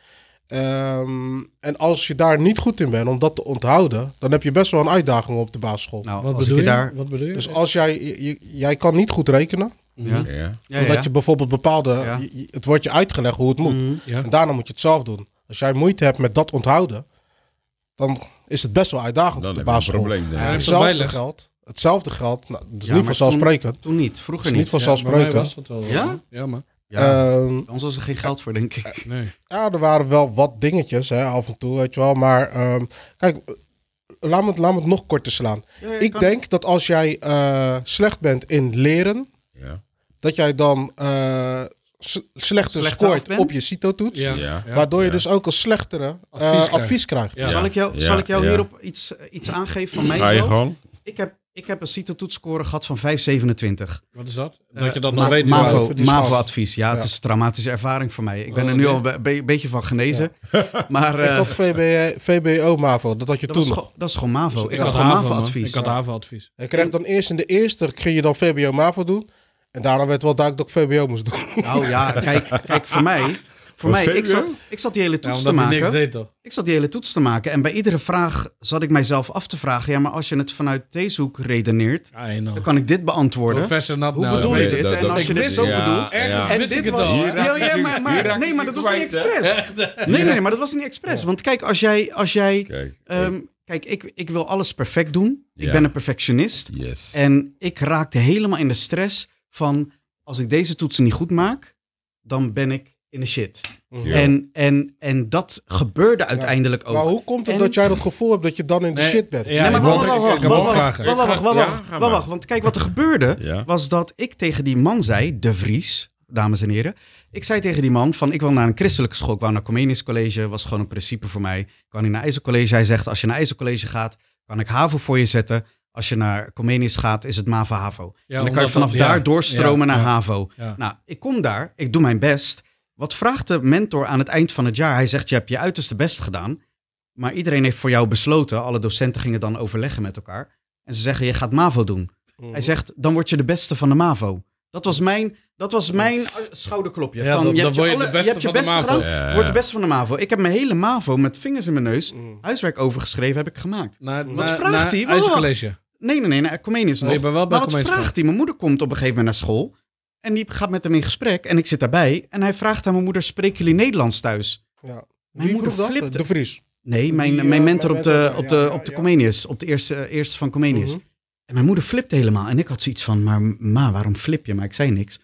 Ehm, en als je daar niet goed in bent om dat te onthouden, dan heb je best wel een uitdaging op de basisschool.
Nou,
Wat
als
bedoel
ik
je?
je daar...
Wat bedoel je?
Dus als jij, je- jij kan niet goed rekenen,
Ja.
Mhm.
Ja.
Ja, ja,
omdat
ja.
je bijvoorbeeld bepaalde,
Ja.
je- je- het wordt je uitgelegd hoe het moet.
Mhm.
Mm-hmm. Ja.
En daarna moet je het zelf doen. Als jij moeite hebt met dat onthouden, dan is het best wel uitdagend op de
Dan heb je een
basisschool.
probleem.
Ja,
Ja.
dat
Hetzelfde
bijlegt.
geldt, hetzelfde geldt, nou, dat is
Ja,
niet
maar
vanzelfsprekend.
Toen niet, vroeger
is
niet.
niet vanzelfsprekend.
Ja, bij mij was dat wel.
Ja?
Ja, maar.
Ja.
Ehm,
Bij ons was er geen geld voor, denk ik.
Nee.
Ja, er waren wel wat dingetjes hè, af en toe, weet je wel. Maar ehm, kijk, eh, laat me, het, laat me het nog korter slaan. ik denk dat als jij eh, slecht bent in leren,
Ja.
dat jij dan eh, s- slechter
Slechter af
scoort
bent?
op je CITO-toets.
Ja.
Ja.
ja.
waardoor je
ja.
dus ook een slechtere eh,
Advies krijgt.
advies krijgt.
Ja.
Zal ik jou,
Ja,
zal ik jou
ja.
hierop iets, iets aangeven van
Ga je
mijzelf?
gewoon?
Ik heb, ik heb een CITO-toetsscore gehad van 527.
Wat is dat? Dat je
Eh,
dat nog
Ma-
weet.
maar-
Mavo.
MAVO,
over die schaal.
MAVO-advies. Ja,
Ja.
het is een traumatische ervaring voor mij. Ik ben
Oh,
er nu
oké.
al een be- beetje van genezen.
*laughs*
Maar eh,
Ik had E, VBE, VBO MAVO, dat had je
dat, was
toen
gewoon- dat is gewoon MAVO.
Ik
ik had
had
gewoon
HAVO-advies.
MAVO-advies.
Ik had HAVO-advies.
Je kreeg dan eerst in de eerste, ging je dan VBO MAVO doen. En daarna werd wel duidelijk dat ik VBO moest doen.
Nou ja, kijk, kijk voor mij... Voor
Wat
mij,
vind
ik
je?
zat, ik zat die hele
Ja,
toets te
Nou, omdat hij niks
maken.
deed, toch?
Ik zat die hele toets te maken. En bij iedere vraag zat ik mijzelf af te vragen... ja, maar als je het vanuit deze hoek redeneert...
Ja, I know.
dan kan ik dit beantwoorden.
Professor Nat
Hoe
nou,
bedoel je
weet-
dit?
dat-
En
dat-
als je
ik
dit
wist
zo
het.
bedoelt...
Ja,
Ergens
ja.
En
wist ik
dit
het
was...
al.
Hier
Ja,
raak
ja,
ik-
maar,
hier
maar,
raak
nee,
ik
maar
het
dat was niet
kwijt, hè?
expres. Nee, nee, nee, maar dat was niet expres. Want kijk, als jij... Als jij
Kijk.
Ehm, kijk, ik, ik wil alles perfect doen. Ik
Ja.
ben een perfectionist.
yes.
En ik raakte helemaal in de stress van... als ik deze toetsen niet goed maak, dan ben ik in de shit.
Ja.
En, en, en dat gebeurde uiteindelijk ook.
Maar hoe komt het
En-
dat jij dat gevoel hebt dat je dan in de
Nee,
shit bent?
ja,
nee, maar
ik
wacht,
wou- ik-
wacht, wacht,
ik wou
wacht, wacht,
vragen.
wacht, wacht, wacht,
Ja,
wacht,
ga
wacht,
maar.
wacht. Want kijk, wat er gebeurde
Ja.
was dat ik tegen die man zei, De Vries, dames en heren. Ik zei tegen die man van, ik wil naar een christelijke school. Ik wou naar Comenius College, was gewoon een principe voor mij. Ik wou niet naar IJzercollege. Hij zegt, als je naar IJzercollege gaat, kan ik HAVO voor je zetten. Als je naar Comenius gaat, is het MAVA HAVO.
Ja,
en dan kan je
omdat
vanaf
dat- ja,
daar doorstromen
ja,
naar
ja.
HAVO.
Ja.
Nou, ik kom daar, ik doe mijn best. Wat vraagt de mentor aan het eind van het jaar? Hij zegt, je hebt je uiterste best gedaan. Maar iedereen heeft voor jou besloten. Alle docenten gingen dan overleggen met elkaar. En ze zeggen, je gaat MAVO doen. Hij zegt, dan word je de beste van de MAVO. Dat was mijn, dat was mijn eh, schouderklopje.
Ja,
van,
dan-
je
dan
hebt
word je
alle-
de beste
hebt je
van de
best
MAVO.
gedaan,
Ja, ja.
Word de beste van de MAVO. Ik heb mijn hele MAVO met vingers in mijn neus.
Mm.
Huiswerk overgeschreven, heb ik gemaakt.
Naar,
Wat
naar-
vraagt
naar
hij? Wacht, wacht.
IJzercollege.
Nee, nee, nee, nee Comenius
Oh,
nog.
je bent wel bij
maar wat
Comenius
vraagt hij? Mijn moeder komt op een gegeven moment naar school. En die gaat met hem in gesprek. En ik zit daarbij. En hij vraagt aan mijn moeder, spreken jullie Nederlands thuis?
Ja.
Mijn
Wie
moeder
vroeg dat?
flipte.
De Vries.
Nee, mijn,
eh,
mijn mentor
mijn
op de,
mentor,
op de,
ja,
op de
ja. Mhm.
Comenius. Op de eerste, eh, eerste van Comenius. En mijn moeder flipte helemaal. En ik had zoiets van, maar ma, waarom flip je? Maar ik zei niks.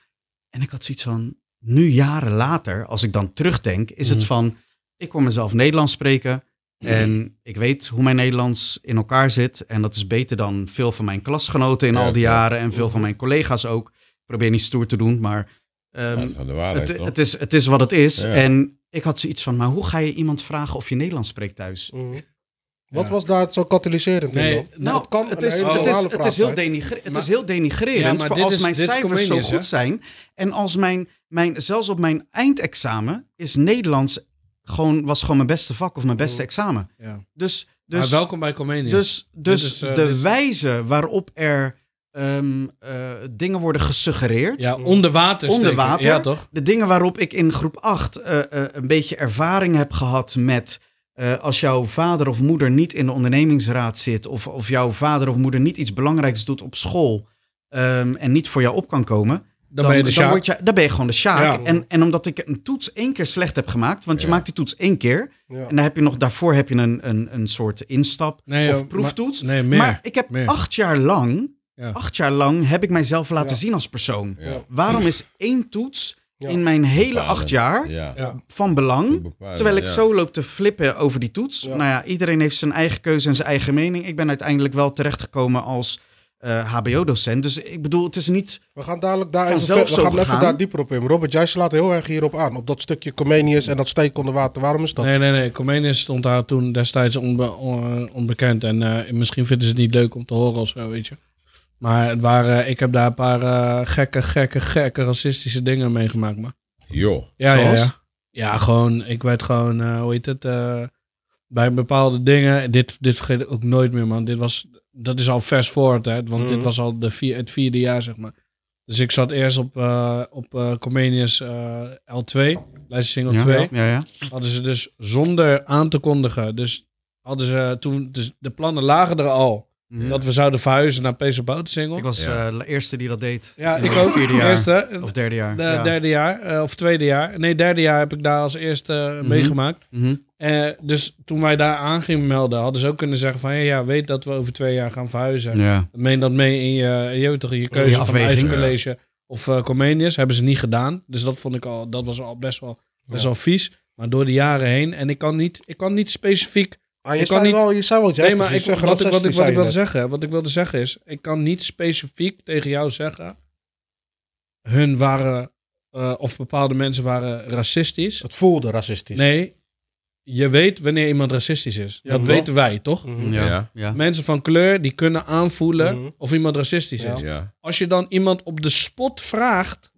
En ik had zoiets van, nu jaren later, als ik dan terugdenk, is
Mhm.
het van, ik hoor mezelf Nederlands spreken. En ik weet hoe mijn Nederlands in elkaar zit. En dat is beter dan veel van mijn klasgenoten in
Ja,
al die
klopt.
jaren. En veel
Mhm.
van mijn collega's ook. Ik probeer niet stoer te doen, maar ehm,
Dat is wel de waarheid,
het,
toch?
het, is, het is wat het is.
Ja.
En ik had zoiets van, maar hoe ga je iemand vragen of je Nederlands spreekt thuis?
Mhm. Wat was daar zo katalyserend in
Nee,
dan?
nou,
Dat kan
het
een
is,
hele
het is,
normale
het
vraag
is, heel,
zijn.
denigre- het
Maar-
is heel
Ja,
denigrerend
maar
voor
dit
als
is-
mijn
dit is
cijfers zo
Comenius,
goed
hè?
zijn. En als mijn, mijn, zelfs op mijn eindexamen is Nederlands gewoon, was gewoon mijn beste vak of mijn
Mm.
beste examen.
Ja.
Dus,
Maar
dus,
welkom bij Comenius.
dus, dus
Dit is, eh,
de
dit is-
wijze waarop er ehm, eh, dingen worden gesuggereerd.
ja, onder water steken.
Onder water.
Ja, toch?
De dingen waarop ik in groep 8 eh, eh, een beetje ervaring heb gehad met. eh, als jouw vader of moeder niet in de ondernemingsraad zit. Of, of jouw vader of moeder niet iets belangrijks doet op school. ehm, en niet voor jou op kan komen.
Dan, ben je de Sjaak.
word je, dan ben je gewoon de sjaak.
Ja.
En, en omdat ik een toets één keer slecht heb gemaakt. Want je
Ja.
maakt die toets één keer.
Ja.
En dan heb je nog, daarvoor heb je een, een, een soort instap
Nee, joh,
of proeftoets.
maar- nee, meer,
maar ik heb
meer.
acht jaar lang...
Ja.
Acht jaar lang heb ik mijzelf laten
Ja.
zien als persoon.
Ja.
Waarom is één toets
Ja.
in mijn hele
Bepalend.
acht jaar
Ja.
Ja.
van belang?
Bepalend,
Terwijl ik
ja.
zo loop te flippen over die toets.
Ja.
Nou ja, iedereen heeft zijn eigen keuze en zijn eigen mening. Ik ben uiteindelijk wel terechtgekomen als eh, HBO-docent. Dus ik bedoel, het is niet...
We gaan dadelijk daar even,
Vanzelf
ver- we
zo
gaan even
gegaan.
daar dieper op in. Robert, jij slaat heel erg hierop aan. Op dat stukje Comenius en dat steek onder water. Waarom is dat?
Nee, nee, nee. Comenius stond daar toen destijds onbe- on- onbekend. En eh, misschien vinden ze het niet leuk om te horen of zo, weet je. Maar het waren, ik heb daar een paar eh, gekke, gekke, gekke racistische dingen meegemaakt. Maar.
Joh.
Ja, ja,
Zoals?
ja. Ja, gewoon, ik werd gewoon, eh, hoe heet het, eh, bij bepaalde dingen, dit, dit vergeet ik ook nooit meer, man. Dit was, dat is al vers voort, hè, want
Mhm.
dit was al de vier, het vierde jaar, zeg maar. Dus ik zat eerst op, eh op eh, Comenius eh, L2, lijst single 2
ja, ja.
hadden ze dus zonder aan te kondigen. Dus hadden ze toen. Dus de plannen lagen er al.
Mhm.
Dat we zouden verhuizen naar Pees Boutensingel.
Ik was
Ja.
eh, de eerste die dat deed.
Ja,
In
ik
het
ook.
Vierde jaar.
Eerste, eh,
Of derde jaar.
de,
ja.
Derde jaar. eh, of tweede jaar. Nee, derde jaar heb ik daar als eerste eh, meegemaakt.
Mhm.
Eh, dus toen wij daar aan gingen melden, hadden ze ook kunnen zeggen van... Ja, ja, weet dat we over twee jaar gaan verhuizen.
Ja.
Meen dat mee in je, je, weet toch, in je keuze
je
van
afweging.
IJsselcollege of eh, Comenius. Hebben ze niet gedaan. Dus dat vond ik al, dat was al best wel, best wel vies. Maar door de jaren heen. En ik kan niet, ik kan niet specifiek
Ah, je,
Ik
zei
kan niet-
wel, je zei wel iets
Nee,
heftigs.
maar
Je
ik,
zei
wat, ik, wat, ik,
racistisch,
wat
zei
ik
je
wilde
net.
zeggen, wat ik wilde zeggen is, ik kan niet specifiek tegen jou zeggen, hun waren, eh, of bepaalde mensen waren racistisch.
Het voelde racistisch.
Nee, je weet wanneer iemand racistisch is. dat
toch?
weten wij, toch?
Mhm.
Ja.
ja.
Mensen van kleur, die kunnen aanvoelen
Mhm.
of iemand racistisch
Ja.
is.
Ja.
Als je dan iemand op de spot vraagt,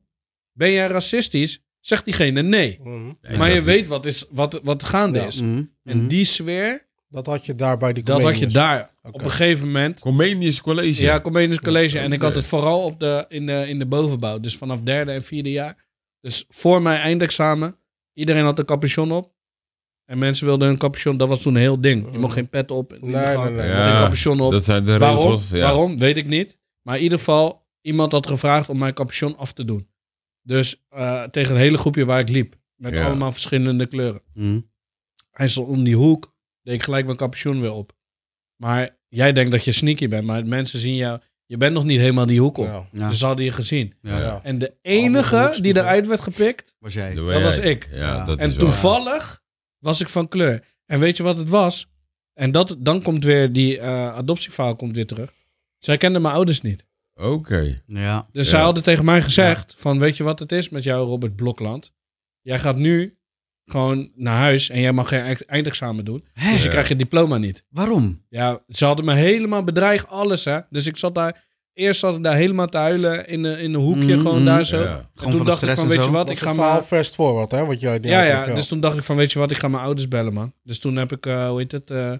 ben jij racistisch? Zegt diegene nee.
Mhm.
Nee,
maar
dat
je
is-
weet wat, is, wat, wat gaande
Ja.
is.
Mhm.
En die sfeer,
Dat had je daar bij die
dat had je
Comenius.
daar. Op een gegeven moment
Comenius College.
Ja, Comenius College. En ik had
oké.
het vooral op de, in, de, in de bovenbouw. Dus vanaf derde en vierde jaar. Dus voor mijn eindexamen. Iedereen had een capuchon op. En mensen wilden hun capuchon. Dat was toen een heel ding. Je mocht geen pet op. in ieder geval.
Mhm. Nee, nee, nee.
Ja.
Geen capuchon op.
Dat zijn de
Waarom?
regels. Ja.
Waarom? Weet ik niet. Maar in ieder geval, iemand had gevraagd om mijn capuchon af te doen. Dus eh, tegen een hele groepje waar ik liep. Met
Ja.
allemaal verschillende kleuren.
Mhm.
Hij stond om die hoek, deed ik gelijk mijn capuchon weer op. Maar jij denkt dat je sneaky bent, maar mensen zien jou. Je bent nog niet helemaal die hoek op.
Ja.
Ja.
Dus ze hadden je gezien.
Ja,
Ja.
En de enige die
hoekspiegel.
eruit werd gepikt.
was jij.
ben
Dat
jij.
was ik.
Ja,
Ja.
Dat
En
is wel-
toevallig was ik van kleur. En weet je wat het was? En dat, dan komt weer die eh adoptieverhaal komt weer terug. Zij kenden mijn ouders niet.
Oké.
Ja.
Dus
Ja.
zij hadden tegen mij gezegd van weet je wat het is met jou Robert Blokland? Jij gaat nu gewoon naar huis en jij mag geen eind- eindexamen doen.
Hè?
Dus je
Ja.
krijgt je diploma niet.
Waarom?
Ja, ze hadden me helemaal bedreigd, alles hè. Dus ik zat daar, eerst zat ik daar helemaal te huilen in een in een hoekje,
Mm,
gewoon
mm.
daar zo.
Ja.
En
Gewoon
toen
van de
dacht ik
stress
van
en
weet je
zo?
wat,
Dat
ik
is
ga
een
maar
verhaal fast forward, hè? Wat jij die
ja,
had
ja.
ik wel.
Dus toen dacht ik van, weet je wat, ik ga mijn ouders bellen, man. Dus toen heb ik, eh, hoe heet het, eh,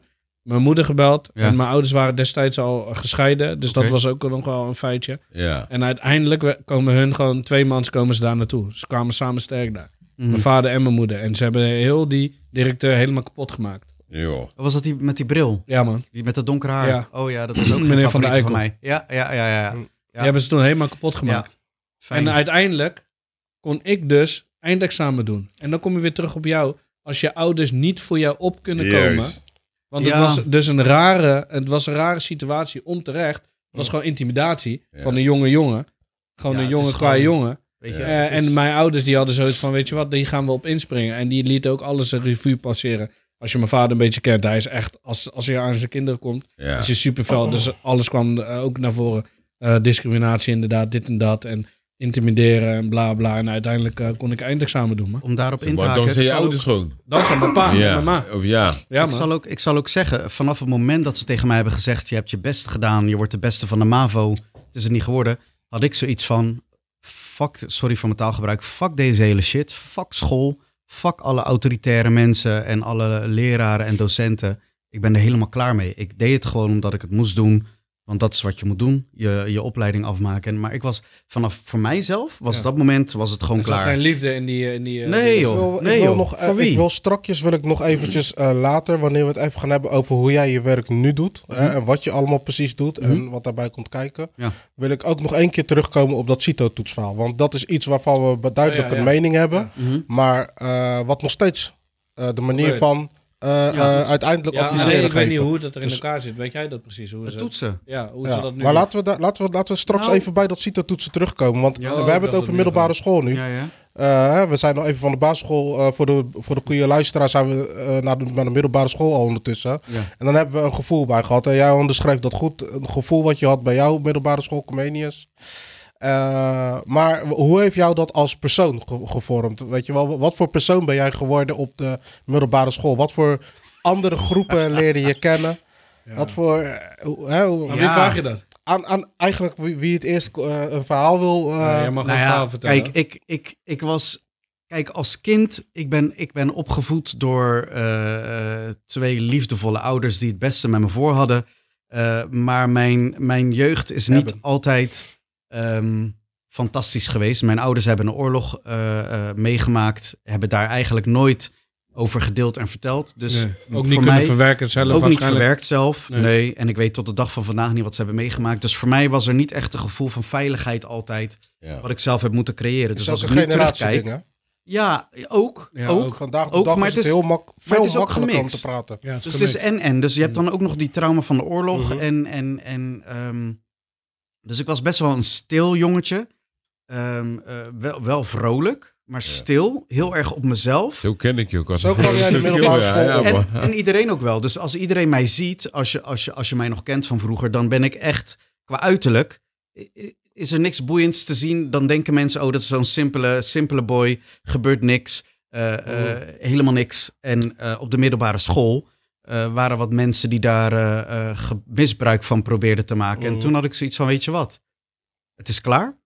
mijn moeder gebeld.
Ja.
En mijn ouders waren destijds al eh, gescheiden. Dus dat
Oké.
was ook nog wel een feitje.
Ja.
En uiteindelijk we- komen hun gewoon, twee mans komen ze daar naartoe. Ze kwamen samen sterk daar.
Mm.
Mijn vader en mijn moeder. En ze hebben heel die directeur helemaal kapot gemaakt.
Joh.
Was dat die met die bril?
Ja, man.
Die met dat donkere haar?
Ja.
Oh ja,
*clears throat*
dat was ook een
Meneer
favoriet
Van
van,
der
van mij. Ja, ja, ja, ja. ja.
Die hebben ze toen helemaal kapot gemaakt.
Fijn.
En eh, uiteindelijk kon ik dus eindexamen doen. En dan kom je weer terug op jou. Als je ouders niet voor jou op kunnen komen.
Juist.
Want het
Ja.
was dus een rare, het was een rare situatie onterecht. Het was gewoon intimidatie
Ja.
van een jonge jongen. Gewoon
Ja,
een
het
jongen
is
qua
gewoon-
jongen.
Weet je,
Ja,
Eh,
het is-
En mijn ouders die hadden zoiets van, weet je wat, die gaan we op inspringen. En die lieten ook alles een revue passeren. Als je mijn vader een beetje kent, hij is echt, als, als hij aan zijn kinderen komt,
Ja.
is hij super fel. Dus alles kwam eh, ook naar voren. Eh, discriminatie inderdaad, dit en dat. En intimideren en bla bla. En uiteindelijk eh, kon ik eindexamen doen. Man.
om daarop in te
Maar dan
haken.
zijn
Ik
je
zal, ook,
ouders gewoon.
Dat zijn mijn pa en
Ja.
mijn ma.
Of ja.
Ja,
ik,
man.
zal ook, ik zal ook zeggen, vanaf het moment dat ze tegen mij hebben gezegd... je hebt je best gedaan, je wordt de beste van de MAVO. Het is het niet geworden. Had ik zoiets van, fuck, sorry voor mijn taalgebruik... fuck deze hele shit, fuck school... fuck alle autoritaire mensen en alle leraren en docenten. Ik ben er helemaal klaar mee. Ik deed het gewoon omdat ik het moest doen... Want dat is wat je moet doen, je, je opleiding afmaken. Maar ik was vanaf voor mijzelf, was
Ja.
dat moment, was het gewoon
Er zat
klaar.
geen liefde in die... eh, In die eh,
Nee,
die-
Ik
joh.
wil, ik
Nee,
wil
joh.
nog, eh,
Van wie?
Ik wil strakjes wil ik nog eventjes eh, later, wanneer we het even gaan hebben over hoe jij je werk nu doet. hè, en wat je allemaal precies doet en wat daarbij komt kijken.
Mhm. Ja.
Wil ik ook nog één keer terugkomen op dat CITO-toetsverhaal. Want dat is iets waarvan we be- duidelijk
Ja, ja,
een
ja. Mhm.
mening hebben. Maar eh, wat nog steeds eh, de manier
Gebeurt.
van eh, eh,
dat-
uiteindelijk
Ja,
adviseren
nee, ik weet
geven.
niet hoe dat er in
Dus-
elkaar zit. Weet jij dat precies? Hoe
Het
ze,
toetsen.
ja, hoe
Ja,
ze dat nu
maar
doen?
laten we, daar- laten, we, laten we straks
Nou.
even bij dat CITO-toetsen terugkomen. Want
Ja,
we
oh,
hebben
dat
het over
we nu
middelbare school nu.
Ja, ja.
Eh, we zijn al even van de basisschool. eh, voor, de, voor de goede luisteraar zijn we eh, naar, de, naar de middelbare school al ondertussen.
Ja.
En dan hebben we een gevoel bij gehad. En jij onderschreef dat goed. Een gevoel wat je had bij jouw middelbare school, Comenius. Eh, maar hoe heeft jou dat als persoon ge- gevormd? Weet je wel, wat voor persoon ben jij geworden op de middelbare school? Wat voor andere groepen
*laughs*
leerde je kennen? Wat voor. eh, hoe- hè, hoe-
Aan wie
Ja.
vraag je dat?
aan, aan eigenlijk wie, wie het eerst eh, een verhaal wil.
Nou
eh,
Ja, jij mag een verhaal vertellen.
Kijk, ik, ik, ik was. Kijk, als kind, ik ben, ik ben opgevoed door eh, eh, twee liefdevolle ouders die het beste met me voor hadden. Eh, maar mijn, mijn jeugd is niet
Hebben.
altijd ehm, fantastisch geweest. Mijn ouders hebben een oorlog eh, eh, meegemaakt, hebben daar eigenlijk nooit over gedeeld en verteld. Dus
Nee, ook
voor
niet kunnen
mij-
verwerken zelf
ook niet
waarschijnlijk.
verwerkt zelf.
Nee.
Nee. En ik weet tot de dag van vandaag niet wat ze hebben meegemaakt. Dus voor mij was er niet echt een gevoel van veiligheid altijd.
Ja.
Wat ik zelf heb moeten creëren. Dus
is ook
als
een
ik nu
generatie
terugkijk.
dingen.
Ja, ook.
Ja,
ook.
ook.
Vandaag de
Ook,
dag
maar
is het
het is-
heel mak veel
het is ook
makkelijker om te
gemixt.
praten.
Ja, het
Dus
is
het is
gemengd.
en en. Dus je hebt dan ook nog die trauma van de oorlog.
Mhm.
En, en, en ehm, dus ik was best wel een stil jongetje. Ehm, eh, wel, wel vrolijk, maar stil. Heel erg op mezelf.
Zo ken ik je ook. als
Zo
een
kwam jij de
stukje
middelbare
*laughs* jongen.
school op.
Ja,
En,
man.
en iedereen ook wel. Dus als iedereen mij ziet, als je, als, je, als je mij nog kent van vroeger, dan ben ik echt qua uiterlijk. i- i- Is er niks boeiends te zien? Dan denken mensen: oh, dat is zo'n simpele, simpele boy. Gebeurt niks. eh, eh, Helemaal niks. En eh, op de middelbare school eh, waren wat mensen die daar eh, eh, ge- misbruik van probeerden te maken. En
Mhm.
toen had ik zoiets van: weet je wat? Het is klaar.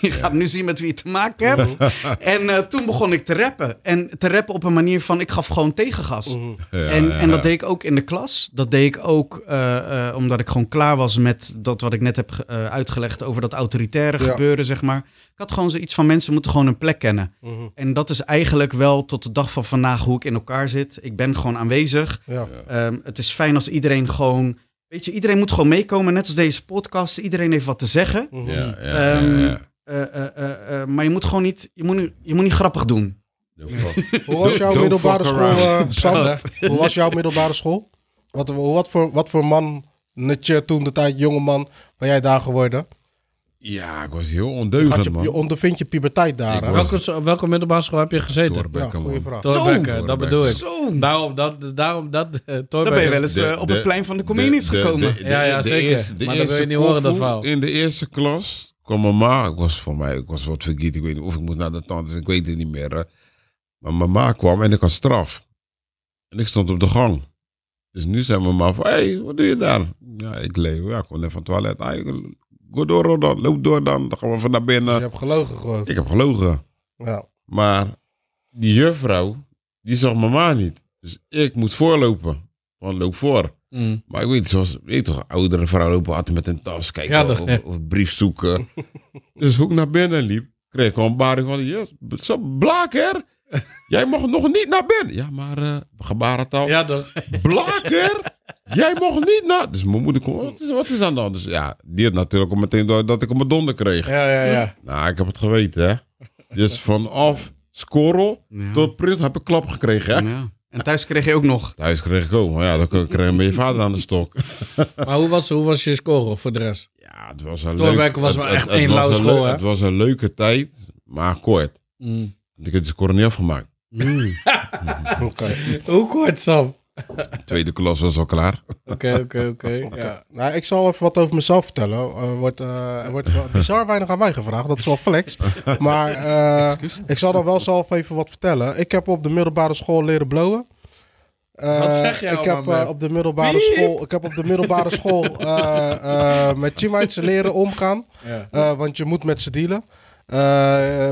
Je gaat nu zien met wie je te maken hebt. *laughs* En eh, toen begon ik te rappen. En te rappen op een manier van: ik gaf gewoon tegengas.
Ja,
En,
ja,
en
ja.
dat deed ik ook in de klas. Dat deed ik ook eh, eh, omdat ik gewoon klaar was met dat wat ik net heb ge- eh, uitgelegd over dat autoritaire
Ja.
gebeuren, zeg maar. Ik had gewoon zoiets van mensen moeten gewoon een plek kennen. En dat is eigenlijk wel tot de dag van vandaag hoe ik in elkaar zit. Ik ben gewoon aanwezig.
Ja.
Ehm, het is fijn als iedereen gewoon. Weet je, iedereen moet gewoon meekomen. Net als deze podcast. Iedereen heeft wat te zeggen.
Ja, ja, ja,
Ehm,
ja.
eh, eh, eh, eh, maar je moet gewoon niet. Je moet, niet- je moet niet grappig doen.
Hoe was jouw
Don't
middelbare
*laughs*
fuck
school,
around.
eh, Sam?
Oh,
Hoe was jouw middelbare school? Wat, wat, voor, wat voor man netje toen de tijd jongeman ben jij daar geworden.
Ja, ik was heel
Had
ondeugend,
eh? je,
man.
je ondervindt je puberteit daar.
Ik
hè?
was-
Welke, welke middelbare school heb je gezeten?
ja,
Doorbekken,
goede
man.
vraag. Dus
Torbekke, dat
Zo.
bedoel ik.
Zo.
Daarom dat, daarom dat eh,
Dan
Thorbecke
ben je
is-
wel eens
De-
eh, op
de-
het plein van de Comenies gekomen.
Ja, ja, zeker. Maar dat wil je niet horen, dat
koffie
verhaal.
In de eerste klas kwam mama. Ik was voor mij, ik was wat vergiet. Ik weet niet of ik moest naar de tante. Ik weet het niet meer. hè. Maar mama kwam en ik had straf. En ik stond op de gang. Dus nu zei mama van, hé, hey, wat doe je daar? Ja, ik leef. Ja, ik kom net van het toilet. Ah, ik- Go door dan, loop door dan. Dan gaan we van naar
Dus je
binnen.
hebt gelogen gewoon.
Ik heb gelogen.
Ja. *laughs*
Maar die juffrouw, die zag mama niet. Dus ik moet voorlopen. Want loop voor.
Mm.
Maar ik weet, zoals weet je toch, oudere vrouwen lopen altijd met een tas kijken
Ja, toch,
of,
ja.
of brief
*laughs*
zoeken. dus hoe ik naar binnen liep, kreeg ik al een baring van, yes, zo
*laughs*
blaker, jij mag nog niet naar binnen. Ja, maar eh gebarentaal.
Ja, toch?
Blaker,
*laughs*
jij mag niet naar... Dus mijn moeder komt, wat is, wat is aan de hand? Dus ja, die had natuurlijk al meteen door dat ik hem een donder kreeg.
Ja, ja, ja.
Nou, ik heb het geweten, hè. Dus vanaf scorrel
Ja.
tot prins heb ik klap gekregen, hè.
Ja. En thuis kreeg je ook nog.
Thuis kreeg ik ook, maar ja, dan kreeg ik met je vader aan
*laughs*
de stok.
Maar hoe was, hoe was je score voor de rest?
Ja, het was een
Doorwerken
leuk-
was
het-
wel
het-
echt
het
één
was
lauwe
een
school,
leu-
hè?
Het was een leuke tijd, maar kort.
Mm.
Want ik heb de score niet afgemaakt.
Hoe kort, Sam?
De tweede klas was al klaar.
Oké, oké, oké. Ja.
Nou, ik zal even wat over mezelf vertellen. Er wordt, eh, er wordt wel bizar weinig aan mij gevraagd. Dat is wel flex. Maar eh, ik zal dan wel zelf even wat vertellen. Ik heb op de middelbare school leren blowen. Eh,
Wat zeg jij
ik heb,
allemaal,
eh,
Beb?
op de middelbare school, ik heb op de middelbare
*laughs*
school eh, eh, met teammates leren omgaan.
Ja.
Eh, want je moet met ze dealen. Eh,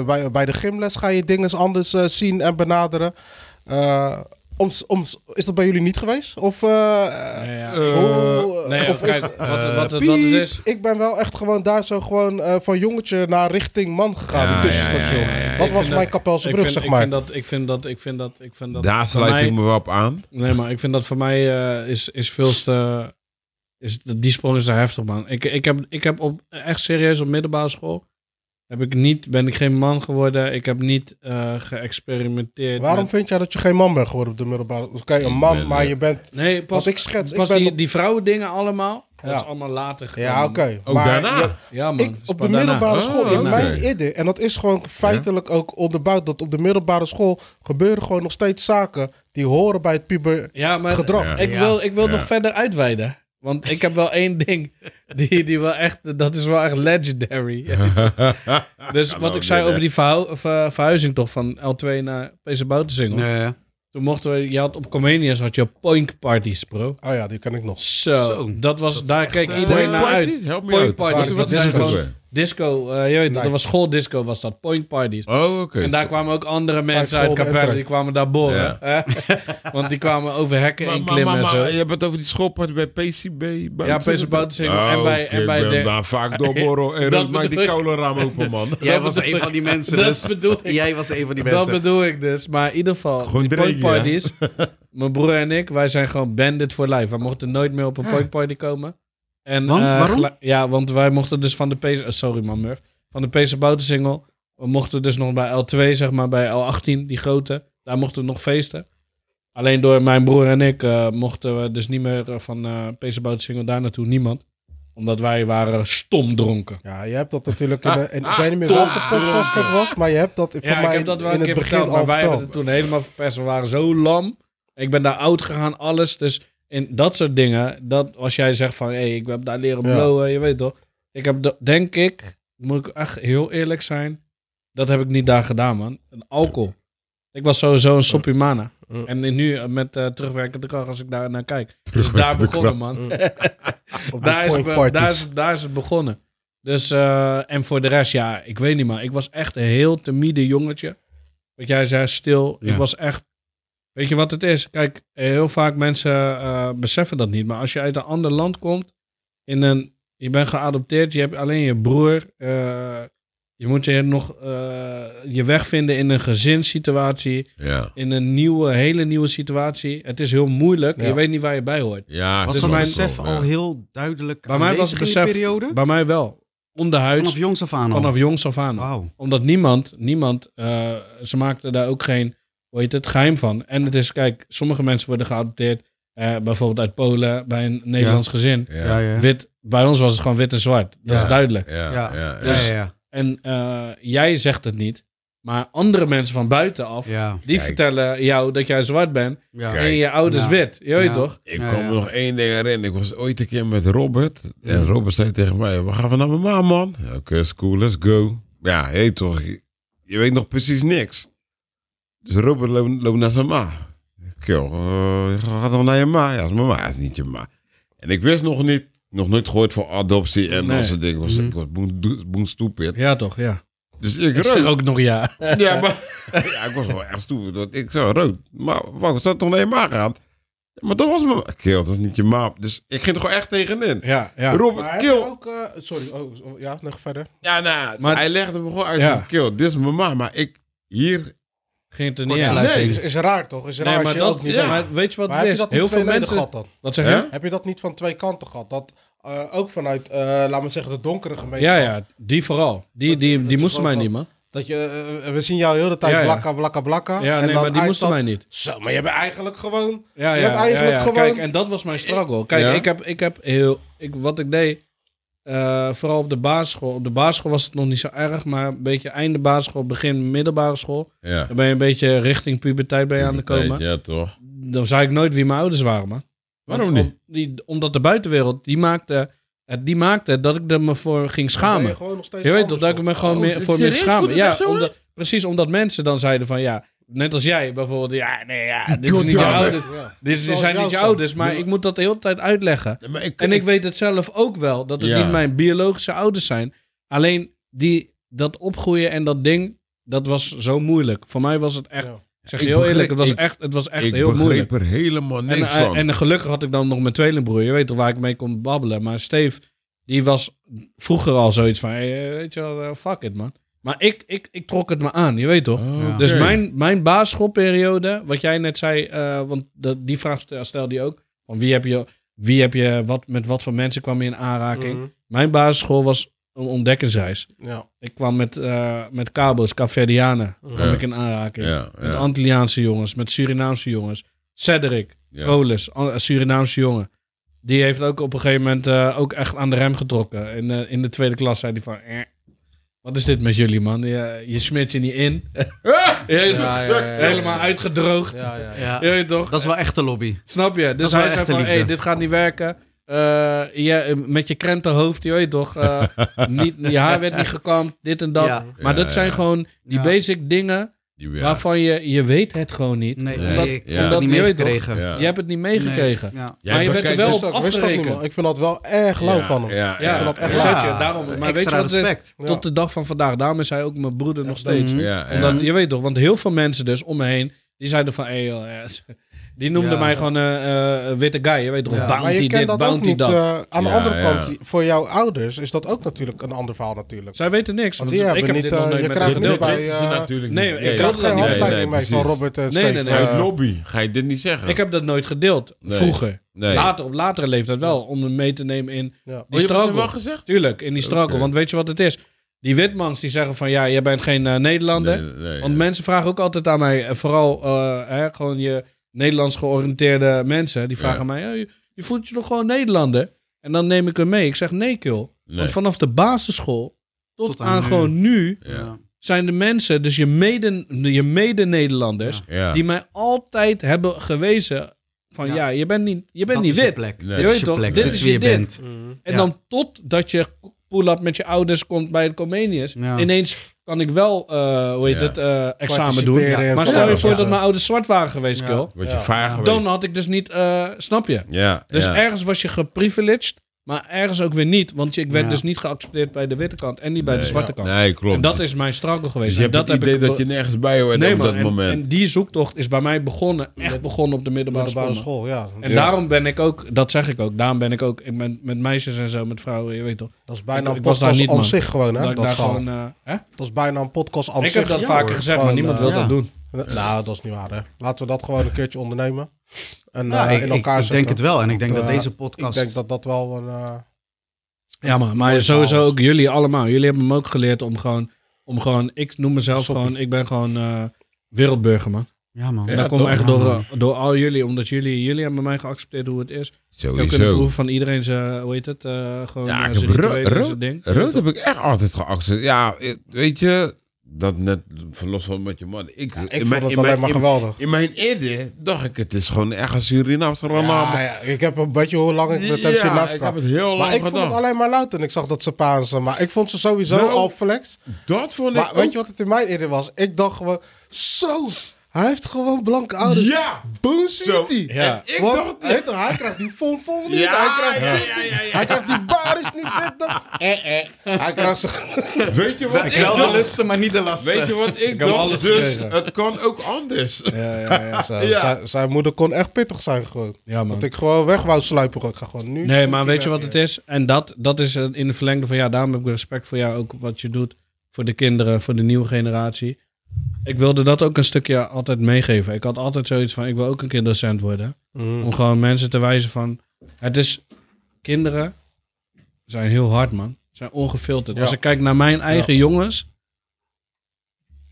bij, bij de gymles ga je dingen anders eh, zien en benaderen. Eh, om, om, is dat bij jullie niet geweest? Of, eh,
ja.
hoe-
Nee,
Eh, of is-
kijk, wat, wat, het- wat het is.
ik ben wel echt gewoon daar zo gewoon eh, van jongetje naar richting man gegaan.
Ja,
die tussenstation.
ja, ja, ja, ja.
Dat
Ik
was
vind
mijn
dat-
kapelse
Ik
brug,
vind,
zeg
ik
maar.
Vind dat, ik vind dat, ik vind dat, ik vind dat. voor
Daar sluit
mij-
ik me wel op aan.
Nee, maar ik vind dat voor mij eh, is, is veel te. Is, die sprong is te heftig, man. Ik, ik heb, ik heb op, echt serieus op middelbare school. Heb ik niet, ben ik geen man geworden. Ik heb niet eh, geëxperimenteerd.
Waarom
met-
vind jij dat je geen man bent geworden op de middelbare? Oké, een man,
ben,
maar
eh,
je bent.
Nee, pas,
Wat ik schets, ik
pas
ben
die,
op-
die vrouwendingen allemaal. Dat
Ja.
is allemaal later gekomen.
Ja, oké.
Ook
maar
daarna.
je-
Ja, man.
ik,
dat is
op
pas
de
daarna. Oh,
middelbare
Ah,
school, in
oké.
mijn idee, en dat is gewoon feitelijk ook onderbouwd, dat op de middelbare school gebeuren gewoon nog steeds zaken die horen bij het puber.
Ja, maar
Gedrag.
Ja.
ik wil, ik wil
Ja.
nog verder uitweiden. Want ik heb wel één ding die, die wel echt, dat is wel echt
*laughs*
legendary. *laughs* *laughs* dus
Kan
wat
ook
ik zei over
niet, nou, hè?
die verhou- of, eh, verhuizing toch van L2 naar PC Boutensingel.
Nee.
Toen mochten we, je had op Comenius had je point parties, bro.
Oh ja, die ken ik nog.
Zo,
Zo,
dat was, daar keek
eh,
iedereen naar uit.
Parties? Help me
Point
uit.
parties,
Wat
dat
is
zijn
dat?
gewoon disco, eh, je weet, dat
Nice.
was schooldisco was dat, point parties.
*laughs* Oh, oké.
En daar kwamen ook andere mensen uit
scholen en
Capelle,
terug.
die kwamen daar boren. hè? *laughs* Want die kwamen over hekken
Maar-
in
maar-
klimmen
maar-
en zo.
maar je hebt het over die schoppen bij PCB.
Ja,
buiten-
Pees Boutensingel en bij-
oké,
en bij
ik ben
de-
daar vaak
*laughs*
doorborrel en rood maakt
bedoel
die
ik.
koude raam open, man.
Jij
Dat
was
bedoel
een van
ik.
die mensen.
Dat
dus.
bedoel ik.
Jij was een van die
Dat
mensen.
bedoel ik dus. Maar in ieder geval,
Gewoon
die
drinken,
point parties. *laughs* mijn broer en ik, wij zijn gewoon bandit voor life. Wij mochten nooit meer op een point party komen. En,
Ah. Want?
eh,
Waarom?
gelijk- ja, want wij mochten dus van de PC... eh, sorry man, Murph. Van de PC Boutensingel. We mochten dus nog bij L2, zeg maar, bij L18, die grote. Daar mochten we nog feesten. Alleen door mijn broer en ik eh, mochten we dus niet meer eh, van eh PC Boutensingel daar naartoe. Niemand. Omdat wij waren stom dronken.
Ja, je hebt dat natuurlijk
*laughs*
in, de, in ik weet niet meer welke podcast dat was, maar je hebt dat voor
Ah, Ja,
mij
ik heb dat wel
in
een
het
keer
begin
verteld,
al
maar wij
verteld.
hebben het toen helemaal verpest. We waren zo lam. Ik ben daar oud gegaan, alles. Dus in dat soort dingen, dat als jij zegt van... hé, hey, ik heb daar leren
Ja.
blowen, je weet toch. Ik heb, dat- denk ik, moet ik echt heel eerlijk zijn... dat heb ik niet daar gedaan, man. Een alcohol. Ik was sowieso een soppimana. En nu eh, met eh, terugwerkende kracht, als ik daar naar kijk... is Dus daar
Terugwerkende
begonnen, man.
Op de
daar, is,
point
be-
parties.
daar, is, daar is het begonnen. Dus, eh, en voor de rest, ja, ik weet niet, maar ik was echt een heel timide jongetje. Wat jij zei, stil.
Ja.
Ik was echt. Weet je wat het is? Kijk, heel vaak mensen eh, beseffen dat niet. Maar als je uit een ander land komt, in een, je bent geadopteerd, je hebt alleen je broer. eh, je moet je nog eh, je weg vinden in een gezinssituatie,
Ja.
in een nieuwe, hele nieuwe situatie. Het is heel moeilijk.
Ja.
Je weet niet waar je bij hoort.
Ja,
Was
klopt,
dat
mijn-
besef
klopt,
al
ja.
heel duidelijk
Bij mij was het
aanwezig in die
besef-
periode?
Bij mij wel. Onderhuids.
Vanaf jongs af aan al?
Vanaf jongs af aan.
Wauw.
Omdat niemand, niemand, eh, ze maakten daar ook geen, hoe heet het, geheim van. En het is, kijk, sommige mensen worden geadopteerd. eh, bijvoorbeeld uit Polen bij een Nederlands gezin.
Ja, ja.
Wit, bij ons was het gewoon wit en zwart. Dat
Ja.
is duidelijk.
Ja,
Ja. Dus-
ja, ja. Dus-
Ja, ja, ja.
En eh, jij zegt het niet, maar andere mensen van buitenaf,
Ja,
die
Kijk.
vertellen jou dat jij zwart bent
ja.
Kijk.
en je ouders
Ja.
wit. Je weet
Ja.
toch?
Ik
Ja,
kwam
ja.
nog één ding erin. Ik was ooit een keer met Robert. En Robert zei tegen mij, we gaan van naar mama, man. Ja, Oké, is cool, let's go. Ja, hé toch. Je, je weet nog precies niks. Dus Robert loopt loopt naar zijn ma. Ik, joh, eh, je gaat dan naar je ma? Ja, dat is mama. Dat is niet je ma. En ik wist nog niet, nog nooit gehoord van adoptie en
Nee.
dat soort dingen. Ik was, ik was boen, doe- boen stupid.
Ja, toch? Ja.
Dus ik
Ik zeg
rood.
ook nog ja.
Ja, maar, Eh, *laughs* ja, ik was wel echt stupid. Want ik zei, rood. Maar wacht, zou toch naar je ma gaan? Ja, maar dat was mijn... Kill, dat is niet je ma. Dus ik ging er gewoon echt tegenin.
Ja, ja.
Robert,
Maar
kill.
ook, eh, sorry, oh, oh, ja, nog verder.
Ja, nou,
Maar-
hij legde me gewoon uit.
Ja.
Kill, dit is mijn ma. Maar ik hier...
Ging het er
Kort
niet aan.
sluiten.
Nee,
Uiting.
is, is raar toch? Is raar
Nee,
als
maar,
je
dat,
ook niet
ja,
weet.
maar weet je wat
Maar
het
heb
is?
je dat niet
Heel
twee
veel
leden
mensen...
gehad dan?
Wat zeg
Hè?
je?
Heb je dat niet van twee kanten gehad? Dat eh, ook vanuit, eh laten we zeggen, de donkere gemeenschap.
Ja, ja, die vooral. Die, die, die,
dat je
moesten mij
gewoon
niet, man.
Dat je, eh, we zien jou heel de tijd
Ja, ja.
blakka, blakka, blakka.
Ja,
en
nee,
dan
maar die
uit
moesten
dat-
mij niet.
Zo, maar je bent eigenlijk gewoon...
Ja,
je
ja,
hebt eigenlijk
ja, ja.
gewoon...
Kijk, en dat was mijn struggle. Kijk,
Ja?
ik, heb, ik heb heel... Ik, wat ik deed, eh, vooral op de basisschool. Op de basisschool was het nog niet zo erg, maar een beetje einde basisschool, begin middelbare school.
Ja.
Dan ben je een beetje richting puberteit ben je aan de komen.
Ja, toch.
Dan zei ik nooit wie mijn ouders waren, man.
Waarom
Want
niet?
om- die, omdat de buitenwereld, die maakte, eh, die maakte dat ik er me voor ging schamen.
Je, gewoon nog steeds
Je weet toch
anders,
dat ik me gewoon
Oh,
meer, voor meer
serieus? Voelt
schaam.
het
Ja,
echt zo, hè?
omdat, precies omdat mensen dan zeiden van ja, net als jij bijvoorbeeld, ja, nee, ja, dit is
doet
niet je
jou, hè?
ouders.
Ja.
Dit is- dit
Zoals
zijn
jouw
niet je
zoon.
ouders, maar ik moet dat de hele tijd uitleggen.
Nee, maar ik,
En ik weet het zelf ook wel, dat het
Ja.
niet mijn biologische ouders zijn. Alleen die, dat opgroeien en dat ding, dat was zo moeilijk. Voor mij was het echt,
Ja.
zeg je
Ik
heel eerlijk, het
begreep-
was
ik-
echt, het was echt
ik
heel
begreep
moeilijk.
er helemaal niks
En, eh,
van.
en gelukkig had ik dan nog mijn tweelingbroer. Je weet toch waar ik mee kon babbelen. Maar Steve, die was vroeger al zoiets van... hey, eh, weet je wel, eh, fuck it, man. Maar ik, ik, ik trok het me aan, je weet toch?
Oh, Oké.
Dus mijn, mijn basisschoolperiode, wat jij net zei... eh, want dat- die vraag stel- stelde je ook. Van wie heb je... Wie heb je wat, met wat voor mensen kwam je in aanraking?
Mhm.
Mijn basisschool was een ontdekkingsreis.
Ja.
Ik kwam met, eh met Cabo's, Caverdianen, kwam
Ja.
ik in aanraking.
Ja,
Met
ja.
Antilliaanse jongens, met Surinaamse jongens. Cedric,
Ja.
Rolus, een Surinaamse jongen. Die heeft ook op een gegeven moment eh, ook echt aan de rem getrokken. En eh, in de tweede klas zei hij van... "Eh, wat is dit met jullie, man? Je, je smeert je niet in. Je is
Ja, ja, ja, ja.
Helemaal uitgedroogd.
Ja, ja, ja.
Ja.
Je weet toch?
Dat is wel echt de lobby.
Snap je? Dus
is wel
hij zei
echte
van,
liefde.
hey, dit gaat niet werken. Eh, ja, met je krentenhoofd, je weet toch? eh, niet, je haar werd niet gekamd, dit en dat.
Ja.
Maar
Ja,
dat zijn
ja.
gewoon die
Ja.
basic dingen...
Ja.
waarvan je, je weet het gewoon niet.
Nee,
Nee,
nee,
ik-
ik
ja.
heb dat niet
je weet toch?
meegekregen.
Ja.
Je hebt het niet meegekregen.
Nee, ja.
Jij
maar je werd er
bekijkt-
wel
Wist
op
dus dat, wist dat niet,
afgerekend.
man. Ik vind dat wel erg lauw
Ja,
van hem.
Ja,
Ja,
ja.
dat echt
ja.
leuk.
Zet je, daarom. Maar weet je
Extra
wat het is?
respect.
Ja.
Tot de dag van vandaag. Daarom is hij ook mijn broeder nog steeds.
Ja, ja.
Omdat, je weet toch, want heel veel mensen dus om me heen, die zeiden van, hey, joh, ja, *laughs* die noemden
Ja.
mij gewoon eh, eh, witte guy. Je weet toch,
Ja.
bounty
Maar je kent
dit,
dat ook
bounty
niet.
dat.
eh, aan de
Ja,
andere
ja.
kant, voor jouw ouders is dat ook natuurlijk een ander verhaal natuurlijk.
Zij weten niks.
Want
Want
die
ik
hebben
heb
niet,
dit nog
eh,
nooit
je
met
krijgt
hun
nu
gedeeld.
bij...
Dit
eh,
is natuurlijk
nee,
niet.
ik
Nee,
je
krijg
krijgt
dat
geen
niet.
handtekening
Nee, nee,
mee van
precies.
Robert en
Nee,
Steve.
nee, nee.
Uit
eh,
lobby ga je dit niet zeggen.
Ik heb dat nooit gedeeld,
Nee.
vroeger.
Nee.
Later, op latere leeftijd wel, om hem mee te nemen in
ja.
die
Oh, je hebt het
struggle.
wel gezegd?
Tuurlijk, in die struggle.
Oké.
Want weet je wat het is? Die witmans die zeggen van ja, jij bent geen eh, Nederlander.
Nee, nee,
want
ja.
mensen vragen ook altijd aan mij, eh, vooral eh, hè, gewoon je Nederlands georiënteerde mensen. Die vragen
Ja.
mij, "Hey, je voelt je toch gewoon Nederlander? En dan neem ik hem mee. Ik zeg nee, kill.
Nee.
Want vanaf de basisschool tot,
Tot aan
aan,
nu.
gewoon nu
Ja.
zijn de mensen, dus je mede- je mede-Nederlanders,
Ja.
die mij altijd hebben gewezen van ja,
Ja.
je bent niet, je bent
Dat
niet
is je
wit.
plek.
Nee.
Je
Dit
weet
is je
toch,
plek.
dit
Dit is
is
wie je
je
bent.
En
Ja.
dan totdat je pull-up met je ouders komt bij de Comenius.
Ja.
Ineens kan ik wel, eh, hoe heet
Ja.
het, eh, examen doen.
Participeren en
Maar
van
stel je
alles,
voor
ja.
dat mijn ouders zwart waren geweest,
Ja.
Kil.
Word je
Ja.
vaar geweest.
Dan had ik dus niet, eh, snap je?
Ja.
Dus
ja.
ergens was je geprivileged, maar ergens ook weer niet. Want je- ik werd
Ja.
dus niet geaccepteerd bij de witte kant en niet bij de zwarte kant.
Nee, klopt.
En dat is mijn struggle geweest.
dus je
en
hebt
dat
het
heb
idee
ik
dat je nergens bij hoort
Nee,
op
man,
dat
en,
moment.
en die zoektocht is bij mij begonnen, echt begonnen op de middelbare,
middelbare
school.
school, ja.
En daarom ben ik ook, dat zeg ik ook, daarom ben ik ook ik ben met meisjes en zo, met vrouwen, je weet toch.
Dat is bijna
Ik-
een
ik was daar
podcast
niet,
aan
man.
zich gewoon, hè?
dat
Dat,
ik daar
verhaal.
gewoon, eh, hè?
dat is bijna een podcast aan
Ik
zich.
heb dat
Ja,
vaker
hoor.
gezegd, maar
Gewoon,
niemand
eh,
wil
ja.
dat doen.
Nou, dat is niet waar, hè. Laten we dat gewoon een keertje ondernemen. En
Nou,
eh,
ik-
in
ik-
elkaar
ik
zetten.
denk het wel. En ik denk
Want,
dat
eh,
deze podcast-
Ik denk dat dat wel een... eh,
Ja, maar, maar sowieso ook jullie allemaal. Jullie hebben me ook geleerd om gewoon, om gewoon ik noem mezelf
Soppie.
gewoon, ik ben gewoon eh, wereldburger, man.
Ja, man.
En
Ja,
dat komt
toch?
echt
Ja,
door, eh,
man.
door al jullie, omdat jullie, jullie hebben mij geaccepteerd hoe het is. Ik heb kunnen
Sowieso.
proeven van iedereen zijn, hoe heet het, eh, gewoon
Ja,
eh,
ik
zijn
heb ro-
rituelen en
ro-
zijn ding.
Rood
Ja,
heb ik echt altijd geaccepteerd. Ja, eh, weet je, dat net verlos van met je man. Ik,
Ik vond het alleen maar
in-
geweldig.
In mijn eerder dacht ik, het is gewoon echt een Surinaamse
Ja,
ramama.
ja, ik heb een beetje hoe lang ik met hem
Ja,
zien
ik heb
afspraak.
het heel lang
Maar ik vond
gedaan.
het alleen maar luid en ik zag dat ze Paanse. Maar ik vond ze sowieso
Nou,
al flex.
Dat vond ik
Maar weet
ook-
je wat het in mijn eerder was? Ik dacht gewoon, zo, hij heeft gewoon blanke ouders.
Ja!
Boom City.
Ja.
Ik
Want,
dacht-
weet je, hij krijgt die fonfon niet,
Ja,
hij krijgt
ja,
dit
ja,
niet,
ja, ja.
hij krijgt die baris niet, dit, dat. Eh, eh. Hij krijgt ze...
*laughs*
Weet je wat ik,
Wel de
dacht?
lusten, maar niet de lasten.
Weet je wat ik
Nou, heb
dacht?
alles
dus
gekregen.
het kan ook anders.
Ja, ja, ja. Zij-
Ja.
zij- zijn moeder kon echt pittig zijn gewoon.
Ja, man.
Dat ik gewoon weg wou sluipen. gewoon. Ik ga gewoon nu...
Nee, maar
sneaky
weet je
weg.
wat het is? En dat, dat is een- in de verlengde van ja, daarom heb ik respect voor jou ook wat je doet voor de kinderen, voor de nieuwe generatie. Ik wilde dat ook een stukje altijd meegeven. Ik had altijd zoiets van ik wil ook een kinderdocent worden. Om gewoon mensen te wijzen van het is kinderen zijn heel hard man. Zijn ongefilterd. Als ik kijk naar mijn eigen jongens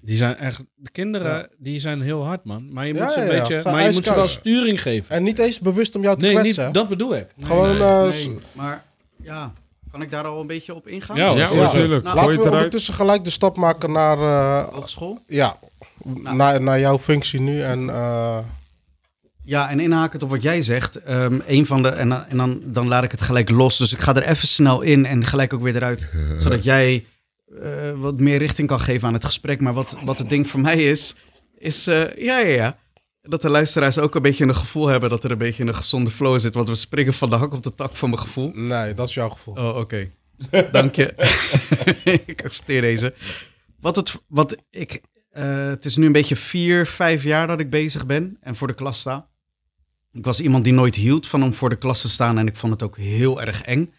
die zijn echt de kinderen die zijn heel hard man. Maar je
Ja,
moet ze een
ja, ja.
beetje
Zijn
maar je moet ze
ijskoud.
wel sturing geven.
En niet eens bewust om jou te
Nee, niet,
kwetsen. hè?
dat bedoel ik.
Gewoon... eh, s-
Nee, maar ja, kan ik daar al een beetje op ingaan?
Ja,
Ja,
hoor.
Ja.
Nou,
natuurlijk. Gooi
Laten
het
we
eruit.
ondertussen gelijk de stap maken naar... eh,
Hogeschool?
ja,
Nou.
naar, naar jouw functie nu en... eh,
Ja, en inhakend op wat jij zegt. ehm een van de, en dan- en dan, dan laat ik het gelijk los. Dus ik ga er even snel in en gelijk ook weer eruit. Zodat jij eh, wat meer richting kan geven aan het gesprek. Maar wat, wat het ding voor mij is, is eh, ja, ja, ja. Dat de luisteraars ook een beetje een gevoel hebben dat er een beetje een gezonde flow zit. Want we springen van de hak op de tak van mijn gevoel.
nee, dat is jouw gevoel.
Oh, oké. *laughs* Dank je. *laughs* ik accepteer deze. Wat het, wat ik, eh, het is nu een beetje vier, vijf jaar dat ik bezig ben en voor de klas sta. Ik was iemand die nooit hield van om voor de klas te staan en ik vond het ook heel erg eng.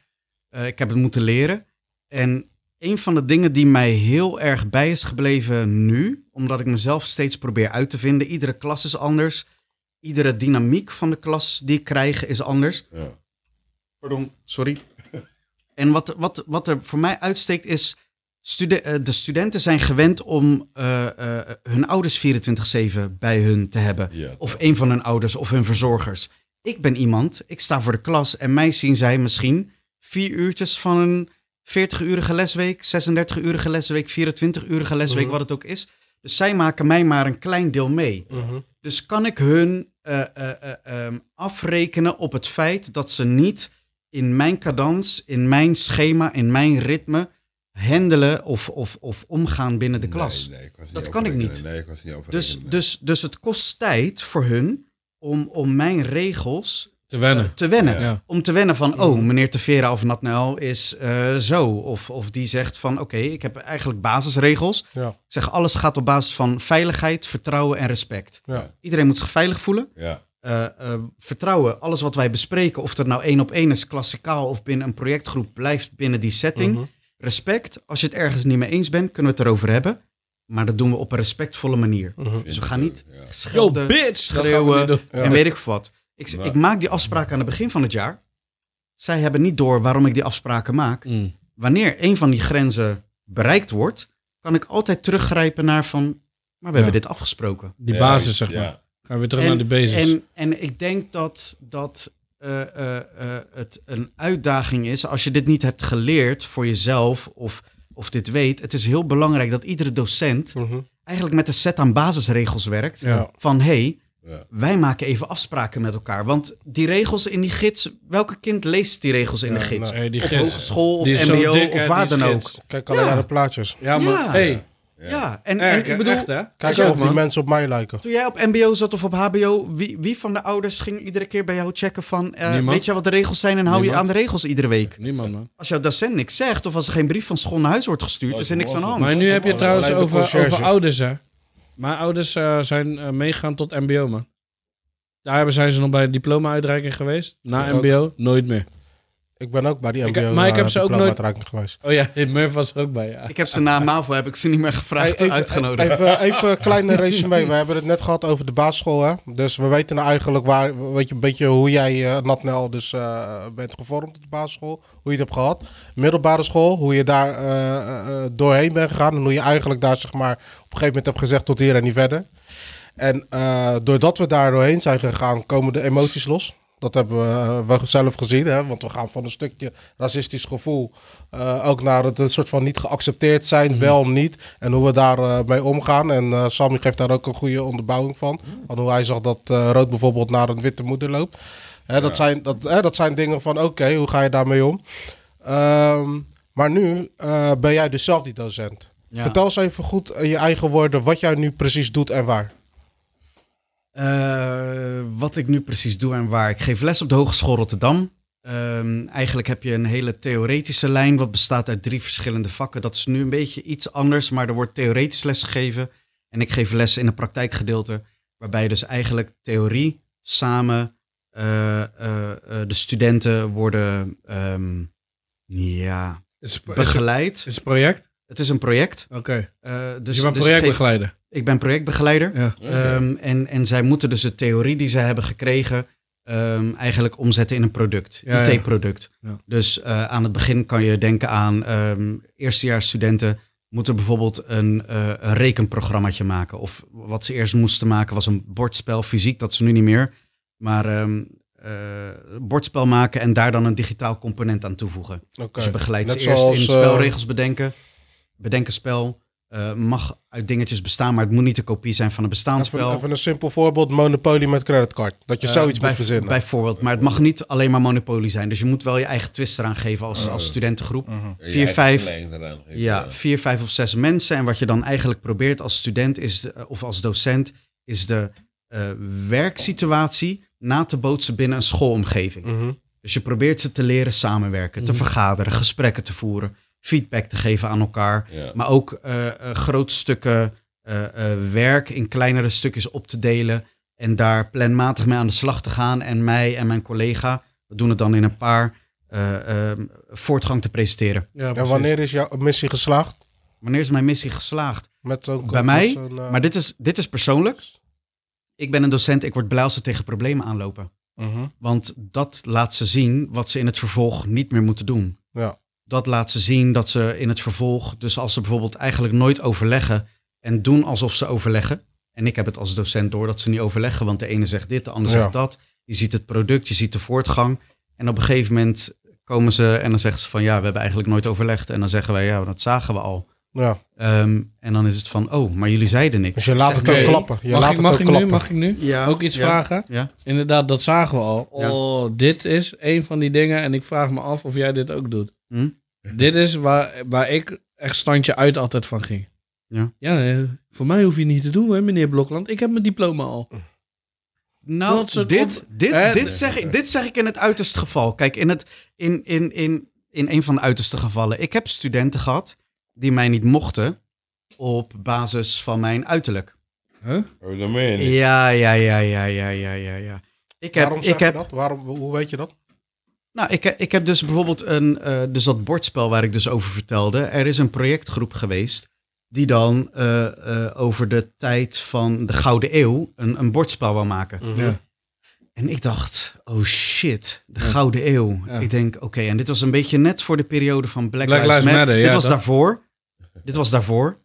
Eh, ik heb het moeten leren. En een van de dingen die mij heel erg bij is gebleven nu, omdat ik mezelf steeds probeer uit te vinden. Iedere klas is anders. Iedere dynamiek van de klas die ik krijg is anders. Pardon, sorry. *laughs* En wat, wat, wat er voor mij uitsteekt is. stude- eh, de studenten zijn gewend om eh, eh, hun ouders 24-7 bij hun te hebben.
Ja.
Of een van hun ouders of hun verzorgers. Ik ben iemand, ik sta voor de klas en mij zien zij misschien vier uurtjes van een 40-urige lesweek, 36-urige lesweek, 24-urige lesweek, wat het ook is. Dus zij maken mij maar een klein deel mee. Dus kan ik hun eh, eh, eh, ehm, afrekenen op het feit dat ze niet in mijn cadans, in mijn schema, in mijn ritme handelen of, of, of omgaan binnen de klas.
Nee, nee, ik was niet
Dat kan ik
overrekenen.
niet.
Nee, ik was niet
Dus,
overrekenen.
dus, dus het kost tijd voor hun om, om mijn regels
Te wennen.
te wennen.
Ja.
Om te wennen van, oh, meneer Tevera of Natnael is eh, zo. Of, of die zegt van, oké, ik heb eigenlijk basisregels.
Ja.
Ik zeg, alles gaat op basis van veiligheid, vertrouwen en respect.
Ja.
Iedereen moet zich veilig voelen.
Ja.
Eh, eh, vertrouwen, alles wat wij bespreken, of dat nou één op één is, klassikaal of binnen een projectgroep, blijft binnen die setting.
Mhm.
Respect, als je het ergens niet mee eens bent, kunnen we het erover hebben. Maar dat doen we op een respectvolle manier. Dus we gaan niet
Mhm. Yo,
schelden,
bitch! dat gaan we niet
schreeuwen
doen.
en weet ik wat. Ik, ik maak die afspraken aan het begin van het jaar. Zij hebben niet door waarom ik die afspraken maak.
Mm.
Wanneer een van die grenzen bereikt wordt, kan ik altijd teruggrijpen naar van, maar we hebben dit afgesproken.
Die
Ja,
basis, zeg
ja.
maar. Gaan we weer terug naar de basis.
En, en ik denk dat, dat eh, eh, eh, het een uitdaging is. Als je dit niet hebt geleerd voor jezelf of, of dit weet. Het is heel belangrijk dat iedere docent eigenlijk met een set aan basisregels werkt.
Ja.
Van hé, hey,
Ja.
wij maken even afspraken met elkaar. Want die regels in die gids, welke kind leest die regels in de gids?
Hey, die
op
gids.
hogeschool, op
Die is zo
mbo
dik, hè,
of waar
die
dan ook.
gids.
Kijk alleen naar de plaatjes.
Ja, man.
Ja.
hey,
Ja, en, en
erg,
ik bedoel,
echt, hè?
Kijk
Zo,
of die
man.
mensen op mij lijken.
Toen jij op MBO zat of op HBO, wie, wie van de ouders ging iedere keer bij jou checken van... eh,
Niemand.
weet je wat de regels zijn en hou je aan de regels iedere week?
Niemand, man.
Als jouw docent niks zegt of als er geen brief van school naar huis wordt gestuurd, is er niks aan de hand.
Maar nu heb je het trouwens
Alleen de
over,
conciërge.
over ouders, hè. Mijn ouders eh, zijn eh, meegegaan tot mbo, man. Daar hebben- zijn ze nog bij de diploma-uitreiking geweest. Na
Ik ook.
mbo, nooit meer.
Ik ben ook bij die
Ik-
MBO
maar ik heb ze ook nooit-
eh, uitreiking geweest.
Oh ja, *laughs* Murph was er ook bij, ja.
Ik heb ze na MAVO heb ik ze niet meer
Hey,
gevraagd,
even,
uitgenodigd.
even, even
*laughs*
een kleine resume. We hebben het net gehad over de basisschool. Hè? Dus we weten nou eigenlijk waar, weet je, een beetje hoe jij, eh Natnel, dus, eh, bent gevormd op de basisschool. Hoe je het hebt gehad. Middelbare school, hoe je daar eh, eh, eh, doorheen bent gegaan. En hoe je eigenlijk daar zeg maar, op een gegeven moment hebt gezegd tot hier en niet verder. En eh, doordat we daar doorheen zijn gegaan, komen de emoties los. Dat hebben we, eh, we zelf gezien, hè? want we gaan van een stukje racistisch gevoel eh, ook naar het een soort van niet geaccepteerd zijn, wel niet. En hoe we daarmee mee omgaan. En eh Sammy geeft daar ook een goede onderbouwing van. Van hoe hij zag dat eh, rood bijvoorbeeld naar een witte moeder loopt. Hè, dat, zijn, dat, hè, dat zijn dingen van oké, hoe ga je daarmee om? Ehm, maar nu eh, ben jij dus zelf die docent.
Ja.
Vertel eens even goed in je eigen woorden wat jij nu precies doet en waar.
Eh, wat ik nu precies doe en waar. Ik geef les op de Hogeschool Rotterdam. Ehm, eigenlijk heb je een hele theoretische lijn, wat bestaat uit drie verschillende vakken. Dat is nu een beetje iets anders, maar er wordt theoretisch les gegeven. En ik geef les in een praktijkgedeelte, waarbij je dus eigenlijk theorie samen eh, eh, eh, de studenten worden ehm, ja,
Is, is,
begeleid.
is het project?
Het is een project.
Oké.
eh, dus,
Dus je bent
dus ik, geef-
projectbegeleider.
ik ben projectbegeleider.
Ja.
Ehm, en, en zij moeten dus de theorie die zij hebben gekregen ehm, eigenlijk omzetten in een product,
Ja, ja.
IT-product.
Ja.
Dus eh, aan het begin kan je denken aan ehm eerstejaarsstudenten moeten bijvoorbeeld een, eh, een rekenprogrammaatje maken. Of wat ze eerst moesten maken was een bordspel, fysiek, dat is nu niet meer. Maar ehm, eh, bordspel maken en daar dan een digitaal component aan toevoegen.
Oké.
Dus je begeleidt
Net
ze eerst
zoals,
in
eh,
spelregels bedenken. Bedenken spel eh, mag uit dingetjes bestaan, maar het moet niet de kopie zijn van een bestaand spel.
Even, even een simpel voorbeeld, Monopoly met creditcard. Dat je
Eh,
zoiets
bij-
moet verzinnen.
Bijvoorbeeld, maar het mag niet alleen maar Monopoly zijn. Dus je moet wel je eigen twist eraan geven als, als studentengroep. Vier, vijf, ja, vier, vijf of zes mensen. En wat je dan eigenlijk probeert als student is, de- of als docent is de eh, werksituatie na te bootsen binnen een schoolomgeving.
Mhm.
Dus je probeert ze te leren samenwerken, te vergaderen, gesprekken te voeren, feedback te geven aan elkaar.
Ja.
Maar ook eh eh, groot stukken eh, eh, werk in kleinere stukjes op te delen. En daar planmatig mee aan de slag te gaan. En mij en mijn collega, we doen het dan in een paar, eh, eh, voortgang te presenteren.
Ja,
En
precies.
wanneer is jouw missie geslaagd?
Wanneer is mijn missie geslaagd?
Met zo'n-
Bij
met
mij?
zo'n, eh,
Maar dit is, dit is persoonlijk. Ik ben een docent, ik word blij als ze tegen problemen aanlopen.
mhm.
Want dat laat ze zien wat ze in het vervolg niet meer moeten doen.
Ja.
dat laat ze zien dat ze in het vervolg, dus als ze bijvoorbeeld eigenlijk nooit overleggen en doen alsof ze overleggen. En ik heb het als docent door dat ze niet overleggen, want de ene zegt dit, de ander
Ja.
zegt dat. Je ziet het product, je ziet de voortgang. En op een gegeven moment komen ze en dan zeggen ze van ja, we hebben eigenlijk nooit overlegd. En dan zeggen wij ja, dat zagen we al.
ja.
Ehm, en dan is het van oh, maar jullie zeiden niks.
Dus je laat
Zeg,
het ook
nee.
klappen. Je laat
Mag ik,
het
mag
ook
ik nu?
klappen.
Mag ik nu?
Ja,
Ook iets
ja,
vragen?
Ja.
Inderdaad, dat zagen we al.
Ja.
Oh, dit is een van die dingen. En ik vraag me af of jij dit ook doet.
Hm?
Dit is waar, waar ik echt standje uit altijd van ging.
Ja.
ja, eh, voor mij hoef je niet te doen, hè, meneer Blokland. Ik heb mijn diploma al. Dat
Nou,
soort
dit,
Hè?
dit, dit, zeg, ik- dit zeg ik in het uiterste geval. Kijk, in, het, in, in, in, in een van de uiterste gevallen. Ik heb studenten gehad die mij niet mochten op basis van mijn uiterlijk.
Huh?
Oh, dat meen je niet.
Ja, ja, ja, ja, ja, ja, ja. ja. Ik heb,
Waarom
ik
zeg je
heb,
dat? Waarom, hoe weet je dat?
nou, ik, heb- ik heb dus bijvoorbeeld een, eh, dus dat bordspel waar ik dus over vertelde. Er is een projectgroep geweest die dan eh, eh, over de tijd van de Gouden Eeuw een, een bordspel wou maken.
Ja.
En ik dacht, oh shit, de Gouden Eeuw.
Ja.
Ik denk, oké, en dit was een beetje net voor de periode van Black,
Black
Lives
Lives
Matter.
Matter,
dit
ja,
was
dat-
daarvoor. Dit was daarvoor.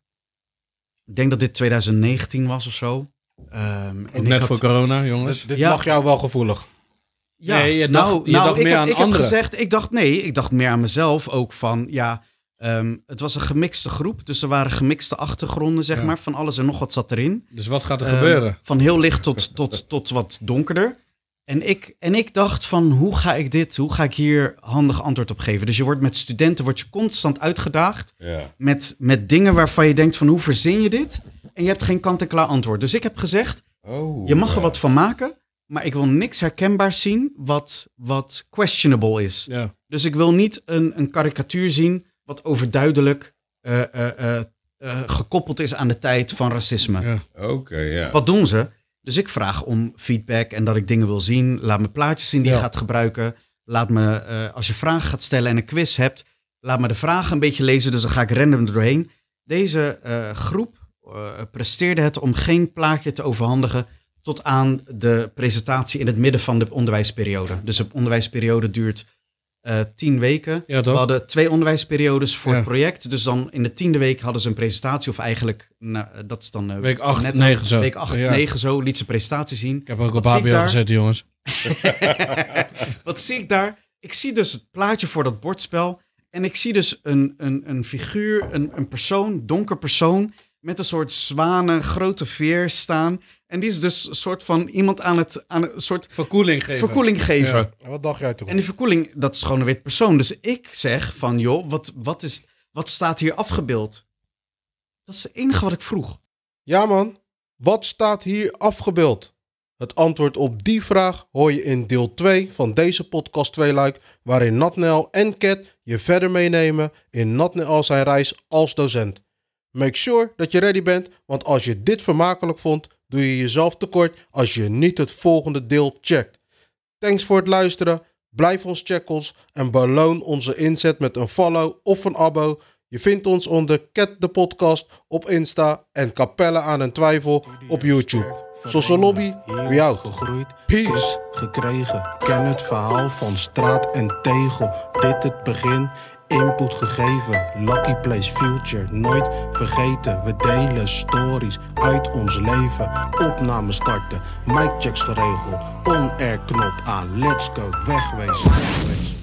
Ik denk dat dit 2019 was of zo. Ehm,
Ook
ik
net
had-
voor corona, jongens.
Dit, dit
Dus Ja.
lag jou wel gevoelig.
Ja,
Nee, je
nou,
dacht- je
nou,
dacht
ik
meer
heb,
aan
ik
anderen.
heb gezegd, ik dacht nee, ik dacht meer aan mezelf ook van, ja, ehm, het was een gemixte groep. Dus er waren gemixte achtergronden, zeg
Ja.
maar, van alles en nog wat zat erin.
Dus wat gaat er
Ehm,
gebeuren?
Van heel licht tot, tot, tot wat donkerder. En ik, en ik dacht van hoe ga ik dit, hoe ga ik hier handig antwoord op geven? Dus je wordt met studenten wordt je constant uitgedaagd
Ja.
met, met dingen waarvan je denkt van hoe verzin je dit? En je hebt geen kant-en-klaar antwoord. Dus ik heb gezegd,
Oh,
je mag er
ja.
wat van maken, maar ik wil niks herkenbaars zien wat, wat questionable is.
Ja.
Dus ik wil niet een, een karikatuur zien wat overduidelijk eh, eh, eh, eh, gekoppeld is aan de tijd van racisme.
Ja.
Oké, ja.
Wat doen ze? Dus ik vraag om feedback en dat ik dingen wil zien. Laat me plaatjes zien die
Ja.
je gaat gebruiken. Laat me, eh, als je vragen gaat stellen en een quiz hebt, laat me de vragen een beetje lezen. Dus dan ga ik random er doorheen. Deze eh, groep eh, presteerde het om geen plaatje te overhandigen tot aan de presentatie in het midden van de onderwijsperiode. Dus de onderwijsperiode duurt eh, tien weken.
Ja,
We
toch?
hadden twee onderwijsperiodes voor
Ja.
het project. Dus dan in de tiende week hadden ze een presentatie. Of eigenlijk, nou, dat is dan eh,
Week 8,
net-
9 zo.
week 8,
Ja.
9 zo. Liet ze presentatie zien.
Ik heb ook op
Wat zie ik
HBO
daar?
gezet, jongens.
Wat zie ik daar? Ik zie dus het plaatje voor dat bordspel. En ik zie dus een, een, een figuur, een, een persoon, donker persoon. Met een soort zwanen, grote veer staan. En die is dus een soort van iemand aan het, aan een soort
Verkoeling geven.
verkoeling geven.
Ja.
En wat dacht jij toen?
En die verkoeling, dat is gewoon een wit persoon. Dus ik zeg van, joh, wat, wat, is, wat staat hier afgebeeld? Dat is het enige wat ik vroeg.
Ja man, wat staat hier afgebeeld? Het antwoord op die vraag hoor je in deel 2 van deze podcast Tweeluik, waarin Natnel en Cat je verder meenemen in Natnel zijn reis als docent. Make sure dat je ready bent, want als je dit vermakelijk vond, doe je jezelf tekort als je niet het volgende deel checkt. Thanks voor het luisteren, blijf ons checken ons en beloon onze inzet met een follow of een abo. Je vindt ons onder Cat de Podcast op Insta en Capelle aan een Twijfel op YouTube. Sosso Lobby, we out.
gegroeid.
Peace.
vis gekregen. Ken het verhaal van straat en tegel. Dit het begin. Input gegeven. Lucky Place Future. Nooit vergeten. We delen stories uit ons leven. Opname starten. Mic checks geregeld. On-air knop aan. Let's go. Wegwezen. Wegwezen.